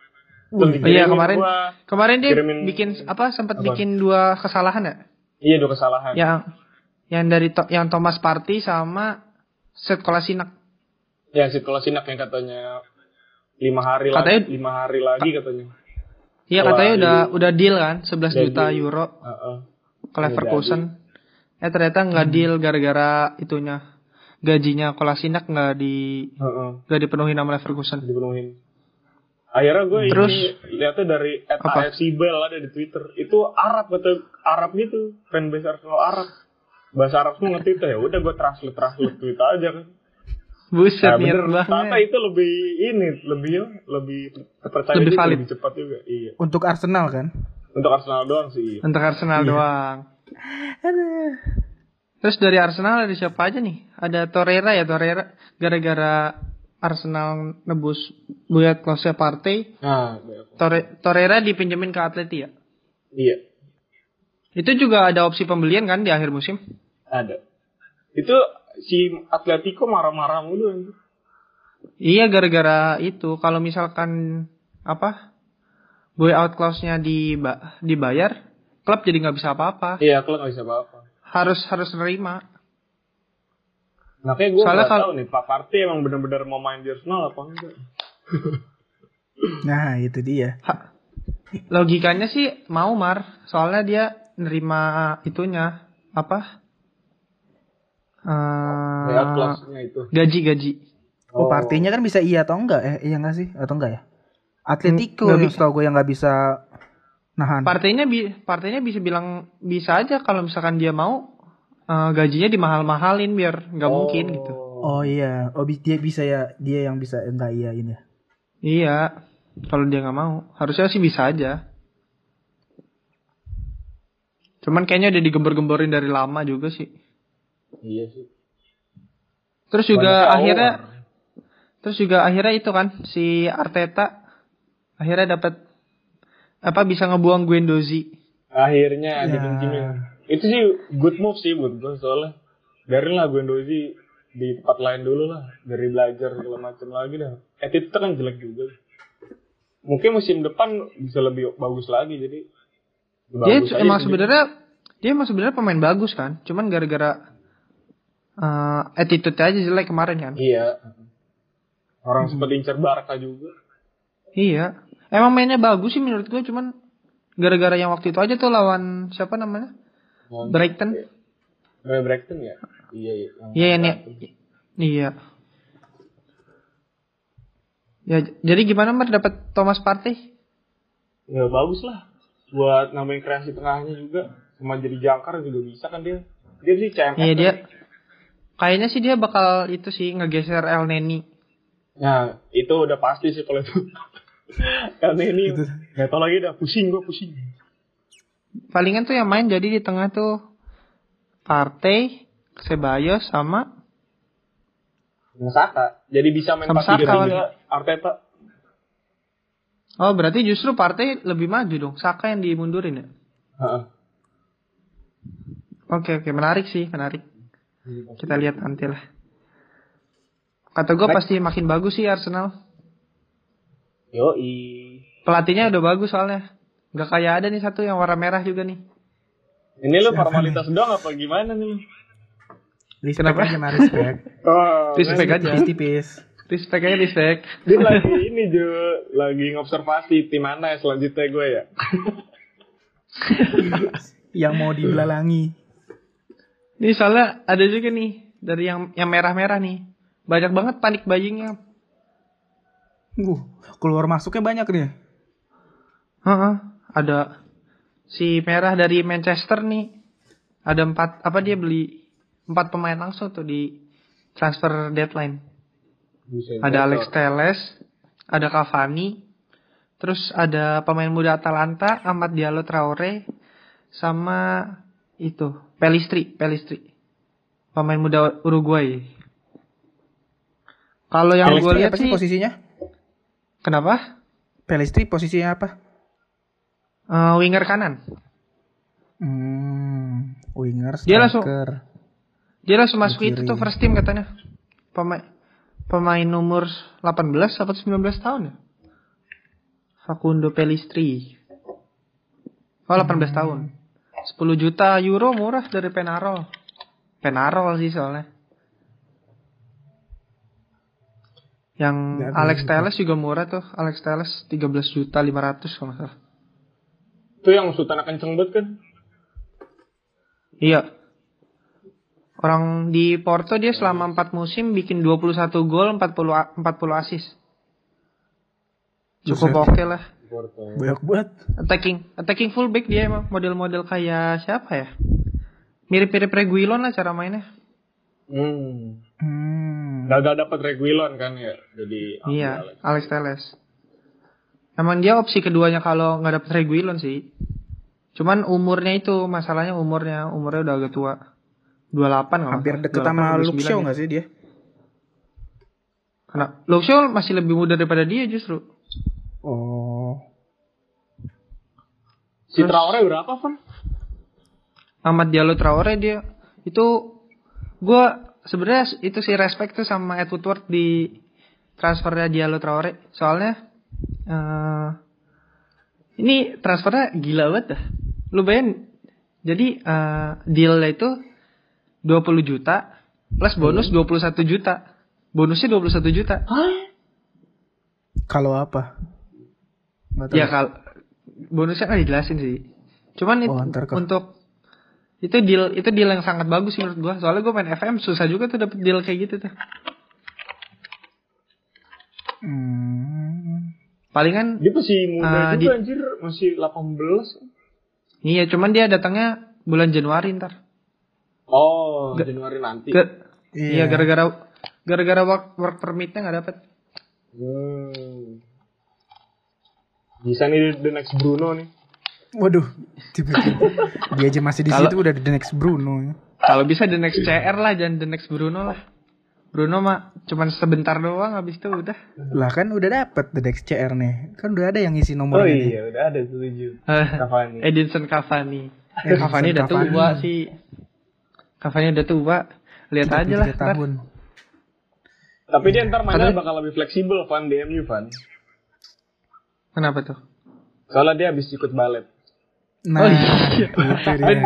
A: Terus
C: Oh iya,
A: dikirimin
C: kemarin-
A: gua-
C: Kemarin dia
A: Kirimin-
C: bikin apa sempat
A: apa?
C: bikin dua kesalahan ya?
A: Iya dua kesalahan.
C: Yang yang dari To- yang Thomas Partey sama Seth Kolasinak.
A: Ya si Kolasinak yang katanya lima hari
C: Katanya-
A: lagi, lima hari lagi katanya.
C: Iya
A: Wah,
C: katanya
A: ini-
C: udah udah deal kan 11
A: Udah
C: juta
A: deal.
C: euro
A: Heeh.
C: ke Leverkusen. Eh ternyata
A: Hmm.
C: nggak deal gara-gara itunya gajinya Kolasinak nggak di
A: Heeh.
C: nggak dipenuhi sama Leverkusen.
A: Dipenuhin. Akhirnya gue
C: Terus?
A: ini lihatnya dari
C: Apa?
A: FC Bell ada di Twitter. Itu Arab kata Arab gitu, fanbase Arsenal Arab. Bahasa Arab semua ngerti itu ya. Udah gue translate translate tweet aja kan.
C: Buset,
A: Nah,
C: mirror
A: bener. Tata
C: Iya, banget.
A: itu lebih ini, lebih lebih percaya
C: Lebih
A: diri,
C: valid.
A: lebih cepat juga. Iya.
B: Untuk Arsenal kan?
A: Untuk Arsenal doang sih.
C: Untuk Arsenal
B: Iya.
C: doang.
B: Aduh.
C: Terus dari Arsenal ada siapa aja nih? Ada Torreira ya Torreira. Gara-gara Arsenal nebus buat Klose Partey,
A: Nah, iya.
C: Torre- Torreira dipinjemin ke Atleti ya.
A: iya,
C: Itu juga ada opsi pembelian kan di akhir musim?
A: ada. Itu si Atletico marah-marah mulu anjir.
C: Iya gara-gara itu. Kalau misalkan apa? Buyout clause-nya diba- dibayar, klub jadi nggak bisa apa-apa.
A: Iya, kalau nggak bisa apa-apa.
C: Harus harus nerima.
A: Nah, kayak gue nggak
C: Soalnya kalau-
A: tahu nih, Pak Partey emang bener-bener mau main di Arsenal apa enggak?
B: Nah, itu dia.
C: Ha- Logikanya sih mau Mar, soalnya dia nerima itunya apa? Eh,
A: Ya, kelasnya itu.
C: gaji-gaji.
B: Oh, partinya kan bisa iya atau enggak? Eh, iya enggak sih? Atau enggak ya? Atletico
C: Nggak
B: yang
C: bisa.
B: setahu gue yang nggak bisa nahan.
C: Partainya bi partainya bisa bilang bisa aja kalau misalkan dia mau eh, gajinya dimahal-mahalin biar nggak mungkin gitu.
B: Oh iya, oh bi- dia bisa ya, dia yang bisa enggak iya ini. ya.
C: Iya, kalau dia nggak mau, harusnya sih bisa aja. Cuman kayaknya udah digembar-gemborin dari lama juga sih.
A: Iya sih.
C: Terus juga
A: Banyak
C: akhirnya,
A: awar.
C: terus juga akhirnya itu kan si Arteta akhirnya dapat apa bisa ngebuang Guendouzi.
A: akhirnya
C: Iya.
B: Ya.
A: dipinjemin itu sih good move sih buat gue soalnya dari lah Guendouzi di tempat lain dulu lah dari belajar segala macam lagi dah attitude kan jelek juga mungkin musim depan bisa lebih bagus lagi jadi
C: Dia
A: bagus aja
C: emang
A: gitu.
C: sebenarnya dia emang sebenarnya pemain bagus kan, cuman gara-gara eh attitude aja jelek kemarin kan.
A: iya orang sempat incer Barca juga
C: Iya. Emang mainnya bagus sih menurut gue cuman gara-gara yang waktu itu aja tuh lawan siapa namanya?
A: Mau-
C: Brighton.
A: Eh, Brighton ya iya iya yang
C: Iya ya, nih.
A: Brighton.
C: Iya. Ya, j- jadi gimana Mer dapat Thomas Partey?
A: ya bagus lah buat nambahin kreasi tengahnya juga sama jadi jangkar juga bisa kan dia dia sih CMF
C: Iya
A: kan.
C: dia kayaknya sih dia bakal itu sih ngegeser El Neni.
A: Nah, itu udah pasti sih kalau itu. Karena ini
B: Itu-
A: nggak tahu lagi udah pusing gua pusing.
C: Palingan tuh yang main jadi di tengah tuh Partey, Ceballos sama
A: Saka. Jadi bisa main
C: Sama
A: pas tiga
C: Saka
A: tiga
C: kan.
A: Arteta.
C: Oh, berarti justru Partey lebih maju dong. Saka yang dimundurin ya.
A: Heeh.
C: Oke, oke, menarik sih, menarik. kita lihat nanti lah. Kata gue
A: Next.
C: pasti makin bagus sih Arsenal.
A: Yoi.
C: Pelatihnya udah bagus soalnya. Gak kayak ada nih satu yang warna merah juga nih.
A: Ini lu
B: Siapa
A: formalitas doang apa gimana nih?
B: Respect
C: Kenapa?
B: aja, Mar, respect.
A: Oh,
C: Respect aja.
B: Tipis-tipis.
C: Respect aja respect.
A: Dia lagi ini Jo, lagi ngobservasi tim mana ya selanjutnya gue ya.
B: Yang mau dibelalangi.
C: Nih soalnya ada juga nih dari yang yang merah-merah nih. Banyak banget panik buyingnya.
B: Uh, keluar masuknya banyak nih.
C: Heeh, ada si merah dari Manchester nih. Ada empat apa dia beli empat pemain langsung tuh di transfer deadline. ada Alex Teles, ada Cavani, terus ada pemain muda Atalanta, Ahmad Diallo Traore, sama itu Pelistri, Pelistri, pemain muda Uruguay. Kalau yang gue
B: Pelistri
C: lihat
B: apa sih
C: sih,
B: posisinya?
C: kenapa?
B: Pelistri posisinya apa?
C: Eh, winger kanan.
B: Hmm, winger, striker.
C: Dia langsung- Dia langsung masuk
B: Di
C: itu
B: kiri.
C: tuh first team katanya. Pemain pemain nomor 18 atau 19 tahun ya? Facundo Pelistri.
B: Hmm.
C: Oh, 18 tahun. 10 juta euro murah dari Penarol. Penarol sih soalnya. Yang
B: Nggak ada
C: Alex
B: gitu.
C: Telles juga murah tuh. Alex Telles 13 juta 500 kalau nggak salah.
A: Itu yang sutana kenceng banget kan?
C: Iya. Orang di Porto dia selama 4 musim bikin 21 gol, 40 a- 40 asis. Cukup
B: Buset.
C: oke lah.
A: Porto.
B: Banyak banget.
C: Attacking, attacking fullback dia emang model-model kayak siapa ya? Mirip-mirip Reguilon lah cara mainnya.
A: Hmm.
B: Hmm.
A: Gagal dapat Reguilon kan ya. Jadi ambil
C: Iya,
A: Alex.
C: Alex Teles. Emang dia opsi keduanya kalau nggak dapet Reguilon sih. Cuman umurnya itu masalahnya umurnya umurnya udah agak tua. 28 kalau
B: Hampir
C: nggak
B: deket
C: salah,
B: sama
C: 28,
B: Luke Shaw
C: 29 ya.
B: nggak sih dia?
C: Karena Luke Shaw Nah, masih lebih muda daripada dia justru.
B: Oh.
A: Si Traore berapa, Van?
C: Ahmad Diallo Traore dia itu gua sebenarnya itu sih respect tuh sama Ed Woodward di transfernya Diallo Traore soalnya eh ini transfernya gila banget dah lu bayangin jadi eh dealnya itu 20 juta plus bonus 21 juta bonusnya 21 juta
B: Kalau apa? Nggak tahu.
C: Ya kalau bonusnya kan dijelasin sih. Cuman
B: Oh,
C: itu-
B: ntar kah?
C: untuk itu deal itu deal yang sangat bagus menurut gua. Soalnya gua main FM susah juga tuh dapet deal kayak gitu tuh.
B: Hmm.
C: Palingan
A: Dia masih muda
C: Ah,
A: juga
C: di-
A: anjir, masih 18.
C: iya cuman dia datangnya bulan Januari ntar.
A: Oh,
C: Nggak-
A: Januari nanti.
C: Ke,
B: Iya.
C: iya gara-gara gara-gara work, work permitnya nggak dapet.
A: Hmm. Bisa nih the next Bruno nih.
B: Waduh, tiba-tiba dia aja masih di
C: Kalau-
B: situ udah the next Bruno. ya.
C: Kalau bisa the next CR lah jangan the next Bruno lah. Bruno mah cuman sebentar doang habis itu udah.
B: Lah kan udah dapet the next CR nih. Kan udah ada yang ngisi nomornya nih.
A: Oh iya, udah ada setuju.
C: Eh,
A: Cavani.
C: Edinson Cavani.
B: Edinson
C: Cavani udah
B: Cavani.
C: tua sih. Cavani udah tua. Lihat aja lah. kan. Oh,
B: 33 tahun.
A: Tapi dia ntar mainnya
C: Karena-
A: bakal lebih fleksibel, Van di MU, Van.
C: ntar. Kenapa tuh?
A: Soalnya dia habis ikut balet.
B: Nah,
C: Oh, iya.
B: itu dia.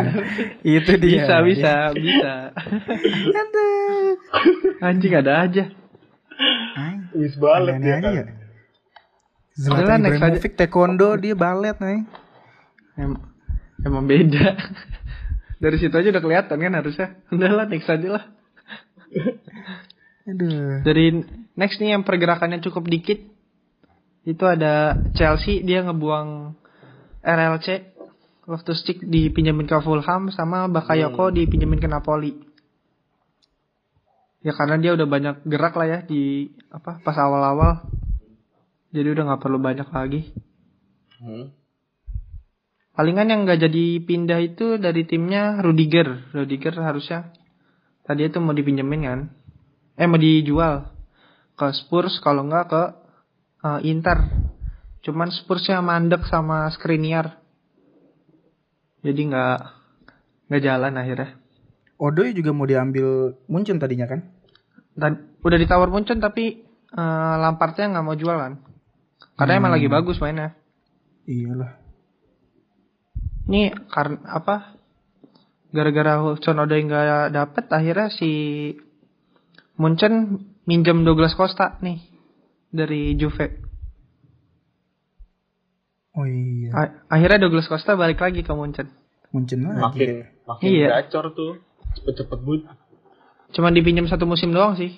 B: itu dia. Gitu.
C: Bisa, bisa, bisa.
B: Ada.
C: Anjing ada aja.
B: Ay,
A: Wis balet
B: aneh-aneh
A: dia
B: aja
A: kan.
B: ya. Zlatan
C: Udah, next
B: Ibrahimovic taekwondo dia balet nih.
C: Em- emang beda. Dari situ aja udah kelihatan kan harusnya. Udah lah, next aja lah.
B: Aduh.
C: Dari next nih yang pergerakannya cukup dikit. Itu ada Chelsea, dia ngebuang RLC. Loftus Cheek dipinjemin ke Fulham sama Bakayoko dipinjemin ke Napoli. Ya karena dia udah banyak gerak lah ya di apa pas awal-awal. Jadi udah nggak perlu banyak lagi.
A: Hmm.
C: Palingan yang nggak jadi pindah itu dari timnya Rudiger. Rudiger harusnya tadi itu mau dipinjemin kan? Eh mau dijual ke Spurs kalau nggak ke eh, Inter. Cuman Spursnya mandek sama Skriniar. Jadi nggak nggak jalan akhirnya.
B: Odoi juga mau diambil Muncun tadinya kan?
C: Dan udah ditawar Muncun tapi eh, Lampardnya nggak mau jual kan? Karena emang lagi bagus mainnya.
B: Iyalah.
C: Ini karena apa? Gara-gara Hudson Odoi nggak dapet, akhirnya si Munchen minjem Douglas Costa nih dari Juve.
B: Oh iya.
C: A- akhirnya Douglas Costa balik lagi ke Munchen.
B: Muncun lagi.
A: Makin makin
C: Ah, Iya.
A: gacor tuh. Cepet-cepet but.
C: Cuman dipinjam satu musim doang sih.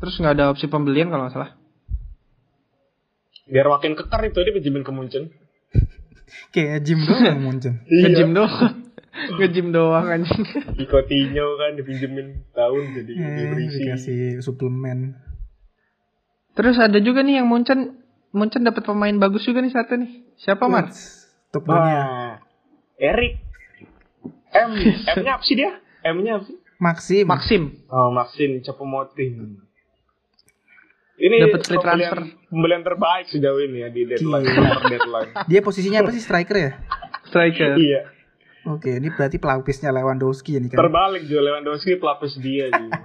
C: Terus nggak ada opsi pembelian kalau nggak salah.
A: Biar makin kekar itu dia pinjemin ke Munchen.
B: Kayak gym doang Muncun.
C: Ngejim doang. Ngejim doang anjing.
A: Di Coutinho kan dipinjemin tahun jadi
B: Eh,
A: diberi
B: dikasih suplemen.
C: Terus ada juga nih yang Munchen Munchen dapat pemain bagus juga nih satu nih. Siapa Mar?
B: Wits, Top dunia.
A: Wah. Erik. Nah, M. M-nya apa sih dia? M-nya apa sih?
B: Maxim.
C: Maxim.
A: Oh, Maxim Cepomoting. Ini
C: Dapat free
A: pembelian-
C: transfer.
A: Pembelian terbaik sejauh ini ya di deadline,
B: Gila.
A: per deadline.
B: Dia posisinya apa sih striker ya?
C: Striker.
A: iya,
B: Oke, ini berarti pelapisnya Lewandowski ini kan.
A: terbalik juga Lewandowski pelapis dia juga.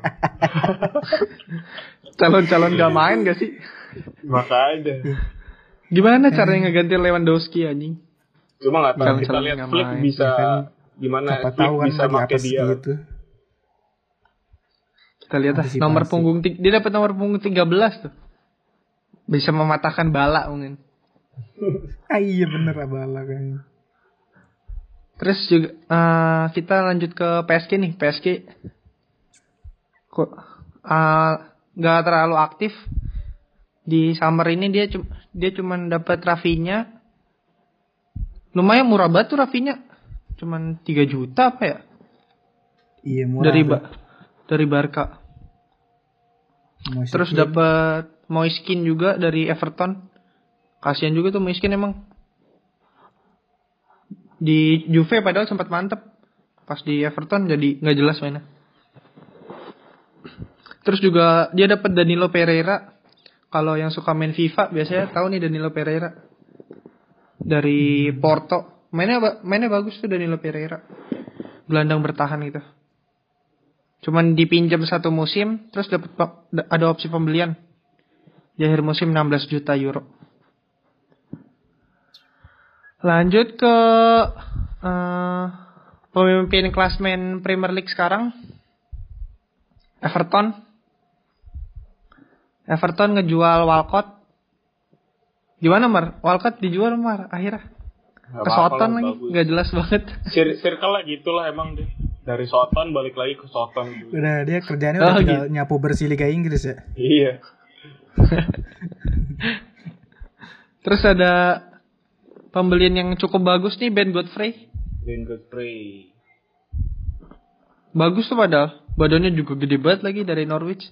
C: Calon-calon gak main gak sih?
A: Makanya.
C: Gimana caranya ngeganti Lewandowski anjing?
A: Cuma nggak tahu
C: Jangan
A: kita
C: salah
A: lihat
C: nggak
A: Flick
C: main.
A: bisa
B: Ya kan,
A: gimana
B: Siapa
A: Flick
B: tahu kan
A: bisa
B: lagi
A: pakai
B: apa
A: dia.
B: gitu.
C: Kita lihat lah
B: Antisipasi.
C: nomor punggung ti- dia dapat nomor punggung 13 tuh. Bisa mematahkan bala mungkin.
B: Ah iya bener Abala kayaknya.
C: Terus juga eh, kita lanjut ke PSG nih. PSG kok eh, nggak terlalu aktif di summer ini dia cum- dia cuman dapat Rafinha. Lumayan murah banget tuh Rafinha. Cuman 3 juta apa ya?
B: Iya murah.
C: Dari
B: tuh.
C: ba- dari Barca.
B: Moise
C: Terus
B: Kean.
C: dapat Moiskin juga dari Everton. Kasihan juga tuh Moiskin emang. Di Juve padahal sempat mantep. Pas di Everton jadi nggak jelas mainnya. Terus juga dia dapat Danilo Pereira. Kalau yang suka main FIFA biasanya tahu nih Danilo Pereira. Dari Porto. Mainnya ba- mainnya bagus tuh Danilo Pereira. Gelandang bertahan gitu cuman dipinjam satu musim terus dapat pa- da- ada opsi pembelian di akhir musim 16 juta euro lanjut ke eh, pemimpin klasmen Premier League sekarang Everton Everton ngejual Walcott gimana Mar? Walcott dijual Mar akhirnya
A: Nggak
C: ke
A: apa-apa
C: Soton
A: lah,
C: lagi
A: bagus.
C: nggak jelas banget
A: Sir- circle lah gitulah emang deh. Dari Soton balik lagi ke Soton gitu.
B: Udah dia kerjanya udah
C: Oh,
B: tinggal nyapu bersih Liga Inggris ya.
A: Iya.
C: Terus ada pembelian yang cukup bagus nih Ben Godfrey.
A: Dan Godfrey.
C: Bagus tuh padahal. Badannya juga gede banget lagi dari Norwich.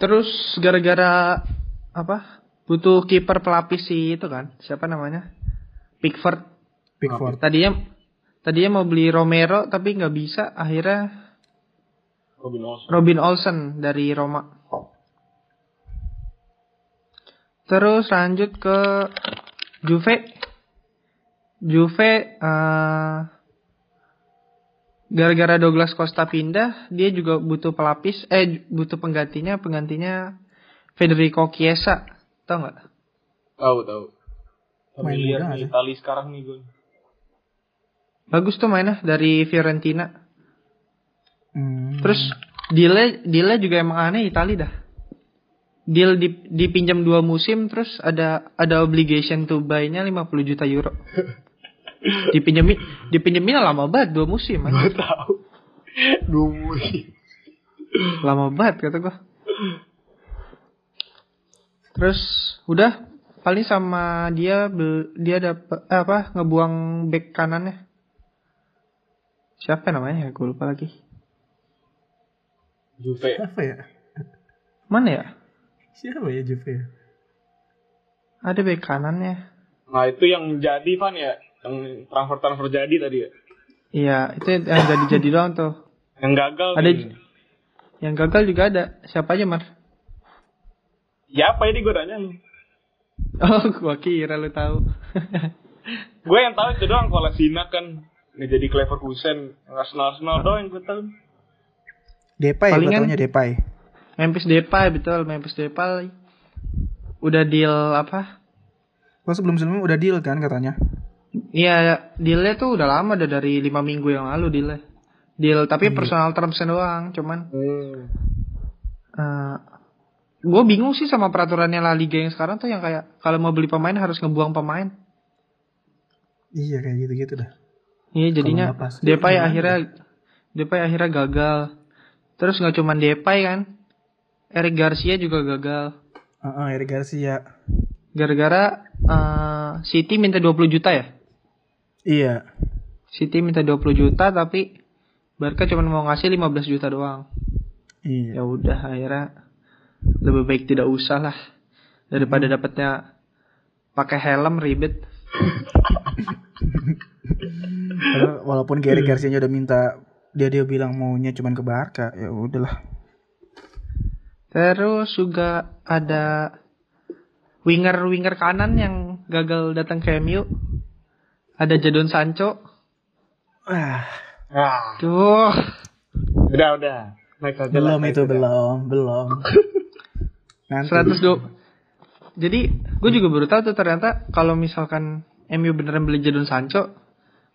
C: Terus gara-gara apa? Butuh kiper pelapis sih itu kan. Siapa namanya? Pickford.
B: Pickford.
C: Tadinya tadinya mau beli Romero tapi nggak bisa. Akhirnya
A: Robin Olsen.
C: Robin Olsen dari Roma. Terus lanjut ke Juve. Juve eh, gara-gara Douglas Costa pindah, dia juga butuh pelapis eh butuh penggantinya, penggantinya Federico Chiesa. Tahu nggak?
A: Tahu tahu.
B: Main
A: Familiar
B: muda
A: nih
B: aja.
A: Itali sekarang nih gue.
C: Bagus tuh mainnya dari Fiorentina.
B: Hmm.
C: Terus dealnya dealnya juga emang aneh Itali dah. Deal di- dipinjam dua musim terus ada ada obligation to buy-nya 50 juta euro. Dipinjemin dipinjemin lama banget dua musim. anjing.
A: Gue tahu. Dulu.
C: Lama banget kata gua. Terus udah paling sama dia bel- dia dapat apa ngebuang back kanannya. Siapa namanya? Gue lupa lagi.
A: Juve.
B: Siapa ya?
C: Mana ya?
B: Siapa ya Juve? ya?
C: Ada back kanannya.
A: Nah itu yang jadi Van ya. Yang transfer transfer jadi tadi ya.
C: Iya, itu yang jadi-jadi doang tuh.
A: Yang gagal.
C: Ada
A: nih.
C: ju- Yang gagal juga ada. Siapa aja, Mar?
A: Ya apa ini gue tanya lu.
C: Oh, gua kira lu tahu.
A: Gue yang tahu itu doang kalau Sina kan nggak jadi Clever Kusen. Arsenal Arsenal doang yang gue tahu.
B: Depay gue
C: Palingan-
B: taunya Depay.
C: Memphis Depay betul, Memphis Depay. Udah deal apa?
B: Lo sebelum-sebelumnya udah deal kan katanya.
C: Iya, dealnya tuh udah lama udah dari lima minggu yang lalu dealnya. Deal tapi personal terms doang, cuman
A: Hmm.
C: eh gue bingung sih sama peraturannya La Liga yang sekarang tuh yang kayak kalau mau beli pemain harus ngebuang pemain.
B: Iya kayak gitu-gitu dah.
C: Iya jadinya
B: nggak pas. Gimana
C: Depay
B: gitu?
C: akhirnya Depay akhirnya gagal. Terus nggak cuma Depay kan, Eric Garcia juga gagal.
B: Heeh, Eric Garcia.
C: Gara-gara eh, City minta 20 juta ya?
B: Iya.
C: City minta 20 juta tapi Barca cuma mau ngasih 15 juta doang.
B: Iya.
C: Ya udah akhirnya lebih baik tidak usah lah daripada dapatnya pakai helm ribet.
B: Padahal Walaupun
A: Hmm.
B: Eric Garcia udah minta dia dia bilang maunya cuman ke Barca, ya udahlah.
C: Terus juga ada winger-winger kanan yang gagal datang ke MU. Ada Jadon Sancho.
B: Wah,
A: Ah,
C: Tuh,
A: udah udah. Naik aja lah,
B: belum
A: naik
B: itu
A: aja.
B: belum, belum. Nanti
C: 102. Jadi, gue juga baru tahu tuh ternyata kalau misalkan MU beneran beli Jadon Sancho,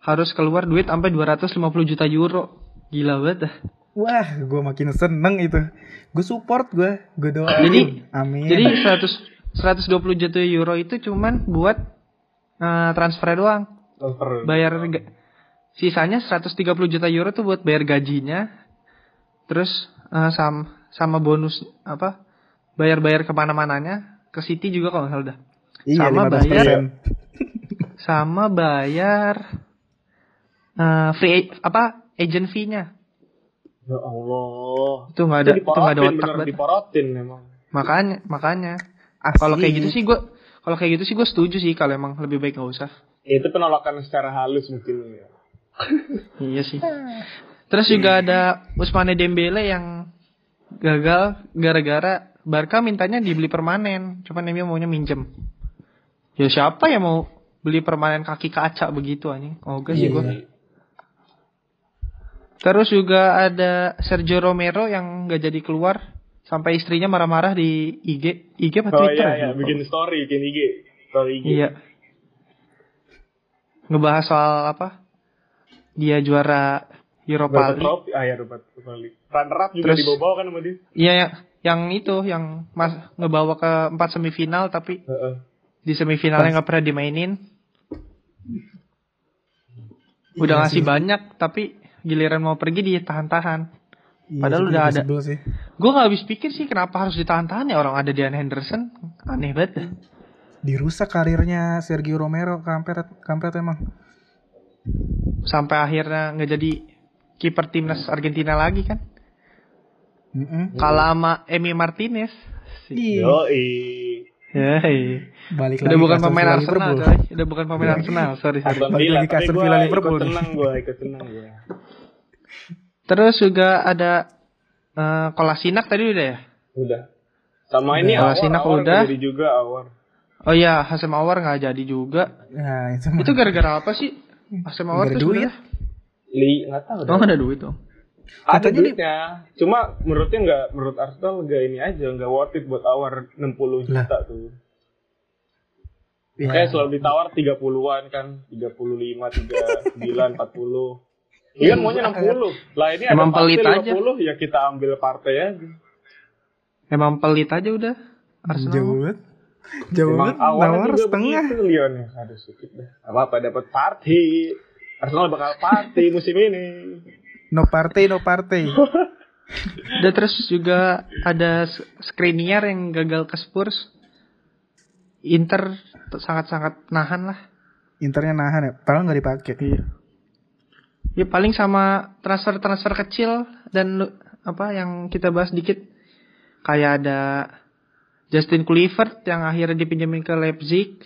C: harus keluar duit sampai 250 juta euro. Gila banget dah.
B: Wah, gue makin seneng itu. Gue support gue, gue doain.
C: Jadi-
B: amin.
C: Jadi 100 120 juta euro itu cuman buat eh, transfer doang.
A: Transfer.
C: bayar ga- sisanya 130 juta euro tuh buat bayar gajinya terus eh, sam- sama bonus apa bayar-bayar kemana-mananya ke City juga kalau nggak salah dah
B: iya,
C: sama Iya.
B: 15%.
C: bayar. sama bayar eh, free a- apa agent fee-nya
A: Ya Allah.
C: Itu nggak ada, itu nggak ada otak
A: bener,
C: banget.
A: diporotin memang.
C: Makanya, makanya.
B: Asli.
C: Kalau kayak gitu sih gue, kalau kayak gitu sih gue setuju sih kalau emang lebih baik nggak usah.
A: Ya, itu penolakan secara halus mungkin ya.
C: Iya sih. Terus juga ada Usmane Dembele yang gagal gara-gara Barca mintanya dibeli permanen, cuman MU maunya minjem. Ya siapa yang mau beli permanen kaki kaca begitu anjing? Oh, gak
B: Iya.
C: sih gua. Terus juga ada Sergio Romero yang gak jadi keluar sampai istrinya marah-marah di IG, IG apa
A: Oh
C: Twitter?
A: iya,
C: ya?
A: iya, bikin story, bikin IG. Story IG.
C: Iya. Ngebahas soal apa? Dia juara Europa
A: Dapat
C: League.
A: trofi, ah ya dapat kembali. Runner up juga
C: Terus-
A: dibawa kan sama dia.
C: Iya, ya. yang itu yang mas ngebawa ke empat semifinal tapi
A: Heeh.
C: di semifinalnya nggak pernah dimainin.
B: Iya
C: Udah ngasih banyak tapi giliran mau pergi ditahan-tahan.
B: Iya,
C: Padahal
B: itu
C: udah
B: juga
C: ada.
B: sebel sih.
C: Gue nggak habis pikir sih kenapa harus ditahan-tahan ya orang ada Dean Henderson. Aneh banget. dah.
B: Dirusak karirnya Sergio Romero kampret kampret emang.
C: Sampai akhirnya nggak jadi kiper timnas Argentina lagi kan.
B: Mm-mm.
C: Kalah sama Emi Martinez.
B: Ih,
A: Yoi.
C: Ya, iya.
B: Balik
C: Udah
B: lagi
C: bukan
B: ke Aston
C: pemain
B: Villa
C: Arsenal,
B: Liverpool. Iya.
C: coy. Udah bukan pemain Arsenal, sorry, sorry.
A: Aston
B: Balik
A: Villa,
B: lagi ke
A: tapi
B: Aston
A: gua
B: Villa Liverpool.
A: ikut tenang gue, ikut tenang gue.
C: Terus juga ada eh Kolasinak tadi udah ya?
A: Udah. Sama ini
C: Udah,
A: awar,
C: Sinak
A: awar
C: udah.
A: jadi juga awar.
C: Oh iya, Hasem Awar nggak jadi juga.
B: Nah, itu, mah.
C: Itu gara-gara apa sih? Hasem
B: Gara
C: Awar tuh
B: duit.
C: sebenarnya?
A: Li, nggak tahu
C: Oh, nggak ada duit dong.
A: Ada
B: Katanya
A: duitnya. Cuma menurutnya nggak, menurut Arsenal nggak ini aja, nggak worth it buat awar 60
B: Lah.
A: juta tuh.
B: Ya.
A: Kayak selalu ditawar 30-an kan, 35, 39, 40. Iya kan maunya 60. Lah ini
C: Emang
A: ada partai
C: pelit aja.
A: 50, ya kita ambil partai aja.
C: Emang pelit aja udah.
B: Jauh
C: Arsenal.
B: banget. Jauh
A: Emang
B: banget.
A: awalnya
B: Nawar
A: juga
B: kan setengah.
A: begitu Lyon ya. Aduh sedikit dah. Gak apa-apa dapat party. Arsenal bakal party musim ini.
B: No party, no party.
C: Udah terus juga ada Skriniar yang gagal ke Spurs. Inter t- sangat-sangat nahan lah.
B: Internya nahan ya. Padahal nggak dipakai.
A: Iya.
C: Ya paling sama transfer-transfer kecil dan lu- apa yang kita bahas dikit kayak ada Justin Kluivert yang akhirnya dipinjemin ke Leipzig,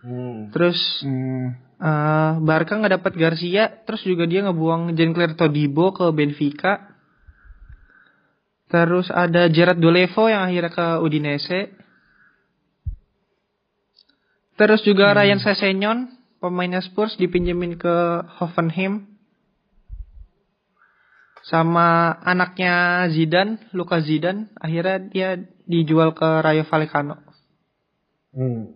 A: Hmm.
C: terus
B: Hmm.
C: eh, Barca nggak dapat Garcia, terus juga dia ngebuang Jean-Claire Todibo ke Benfica. Terus ada Gerard Dolevo yang akhirnya ke Udinese. Terus juga Ryan Sessegnon, pemainnya Spurs dipinjemin ke Hoffenheim. Sama anaknya Zidane, Luka Zidane, akhirnya dia dijual ke Rayo Vallecano.
A: Hmm.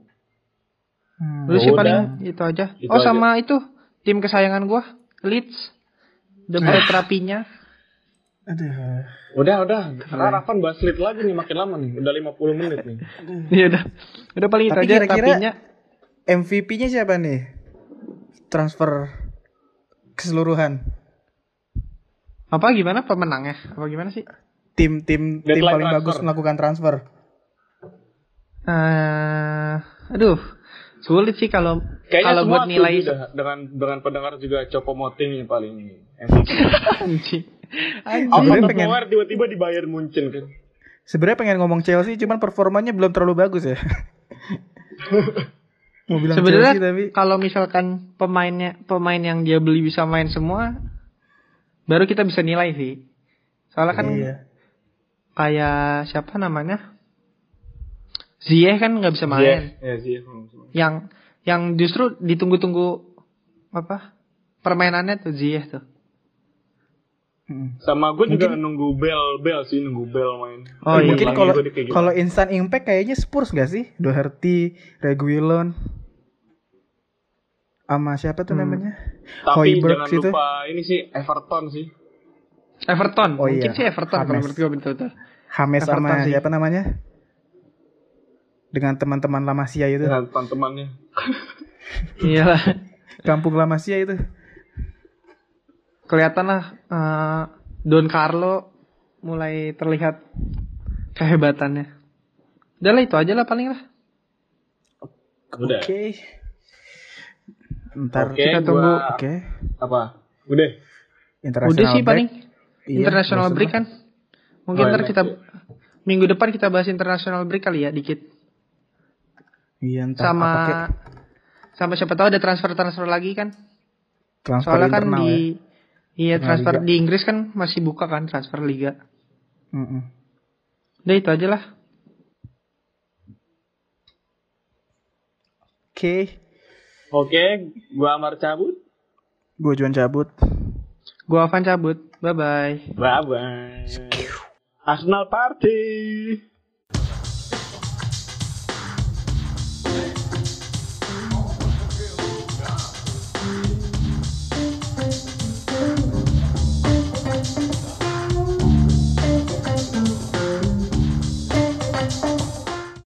B: Hmm.
C: Lu sih
A: Udah.
C: paling Ya itu aja.
A: Itu
C: oh
A: aja.
C: sama itu tim kesayangan gua, Leeds. The Pro Terapinya.
B: Aduh.
A: Udah, udah. Harapan bahas lead lagi nih makin lama nih. Udah 50 menit nih.
C: Iya udah. Udah paling itu
B: Tapi
C: aja
B: kira-kira-
C: terapinya.
B: MVP-nya siapa nih? Transfer keseluruhan.
C: Apa gimana pemenangnya? Apa gimana sih?
B: Tim tim tim
A: Deadline
B: paling
A: transfer.
B: bagus melakukan transfer.
C: eh aduh, sulit sih kalau
A: Kayaknya
C: kalau
A: semua
C: buat nilai
A: setuju dah. dengan dengan pendengar juga Copo Moting yang paling ini. MVP.
C: anjing.
A: Out
B: Sebenarnya
A: of
B: pengen-
A: nowhere tiba-tiba di Bayern Munchen kan.
B: Sebenarnya pengen ngomong Chelsea cuman performanya belum terlalu bagus ya. Mau bilang
C: Sebenarnya
B: Chelsea tapi
C: kalau misalkan pemainnya pemain yang dia beli bisa main semua baru kita bisa nilai sih. Soalnya kan
B: iya.
C: kayak siapa namanya? Ziyech kan nggak bisa main.
A: Iya, iya. sih.
C: Yang yang justru ditunggu-tunggu apa? Permainannya tuh Ziyech tuh.
B: Mm.
A: Sama gue juga nunggu bel bel sih nunggu bel main. Eh,
C: Oh, iya.
B: Mungkin
A: bilangnya
B: kalau
A: gua di kayak gitu.
B: kalau instant impact kayaknya Spurs gak sih? Doherty, Reguilon, sama siapa tuh namanya?
A: Hmm. tapi
B: Hoiberg gitu.
A: jangan
B: situ.
A: lupa ini sih Everton sih.
C: Everton,
B: Oh
C: mungkin
B: iya,
C: sih Everton kalau
B: Hames.
C: menurut gue betul-betul.
B: Hames
C: Everton
B: sama
C: sih.
B: siapa namanya? Dengan teman-teman La Masia itu,
A: Dengan teman-temannya.
C: Iyalah.
B: kampung La Masia itu.
C: kelihatan lah eh, Don Carlo mulai terlihat kehebatannya. Udah lah itu aja lah paling lah.
A: Udah.
B: Oke. Ntar
A: Oke,
C: kita
A: gua-
C: tunggu.
B: oke.
A: Apa? Udah.
B: International
C: Udah sih
B: break.
C: paling.
B: Iya,
C: international
B: nggak
C: break
B: seru.
C: kan? Mungkin
A: Oh,
C: ntar
A: iya,
C: kita
A: iya.
C: minggu depan kita bahas international break kali ya dikit
B: Iya, entah
C: sama
B: apa kek.
C: sama siapa tahu ada transfer transfer lagi kan?
B: transfer
C: Soalnya kan
B: internal ya.
C: di iya
B: Internal
C: transfer
B: liga.
C: di Inggris kan masih buka kan transfer liga.
B: Mm-mm.
C: Udah itu aja lah.
B: Oke,
A: Oke, gua Amar cabut.
B: gue Juan cabut.
C: Gua Avan cabut. Bye bye.
A: Bye bye. Arsenal party.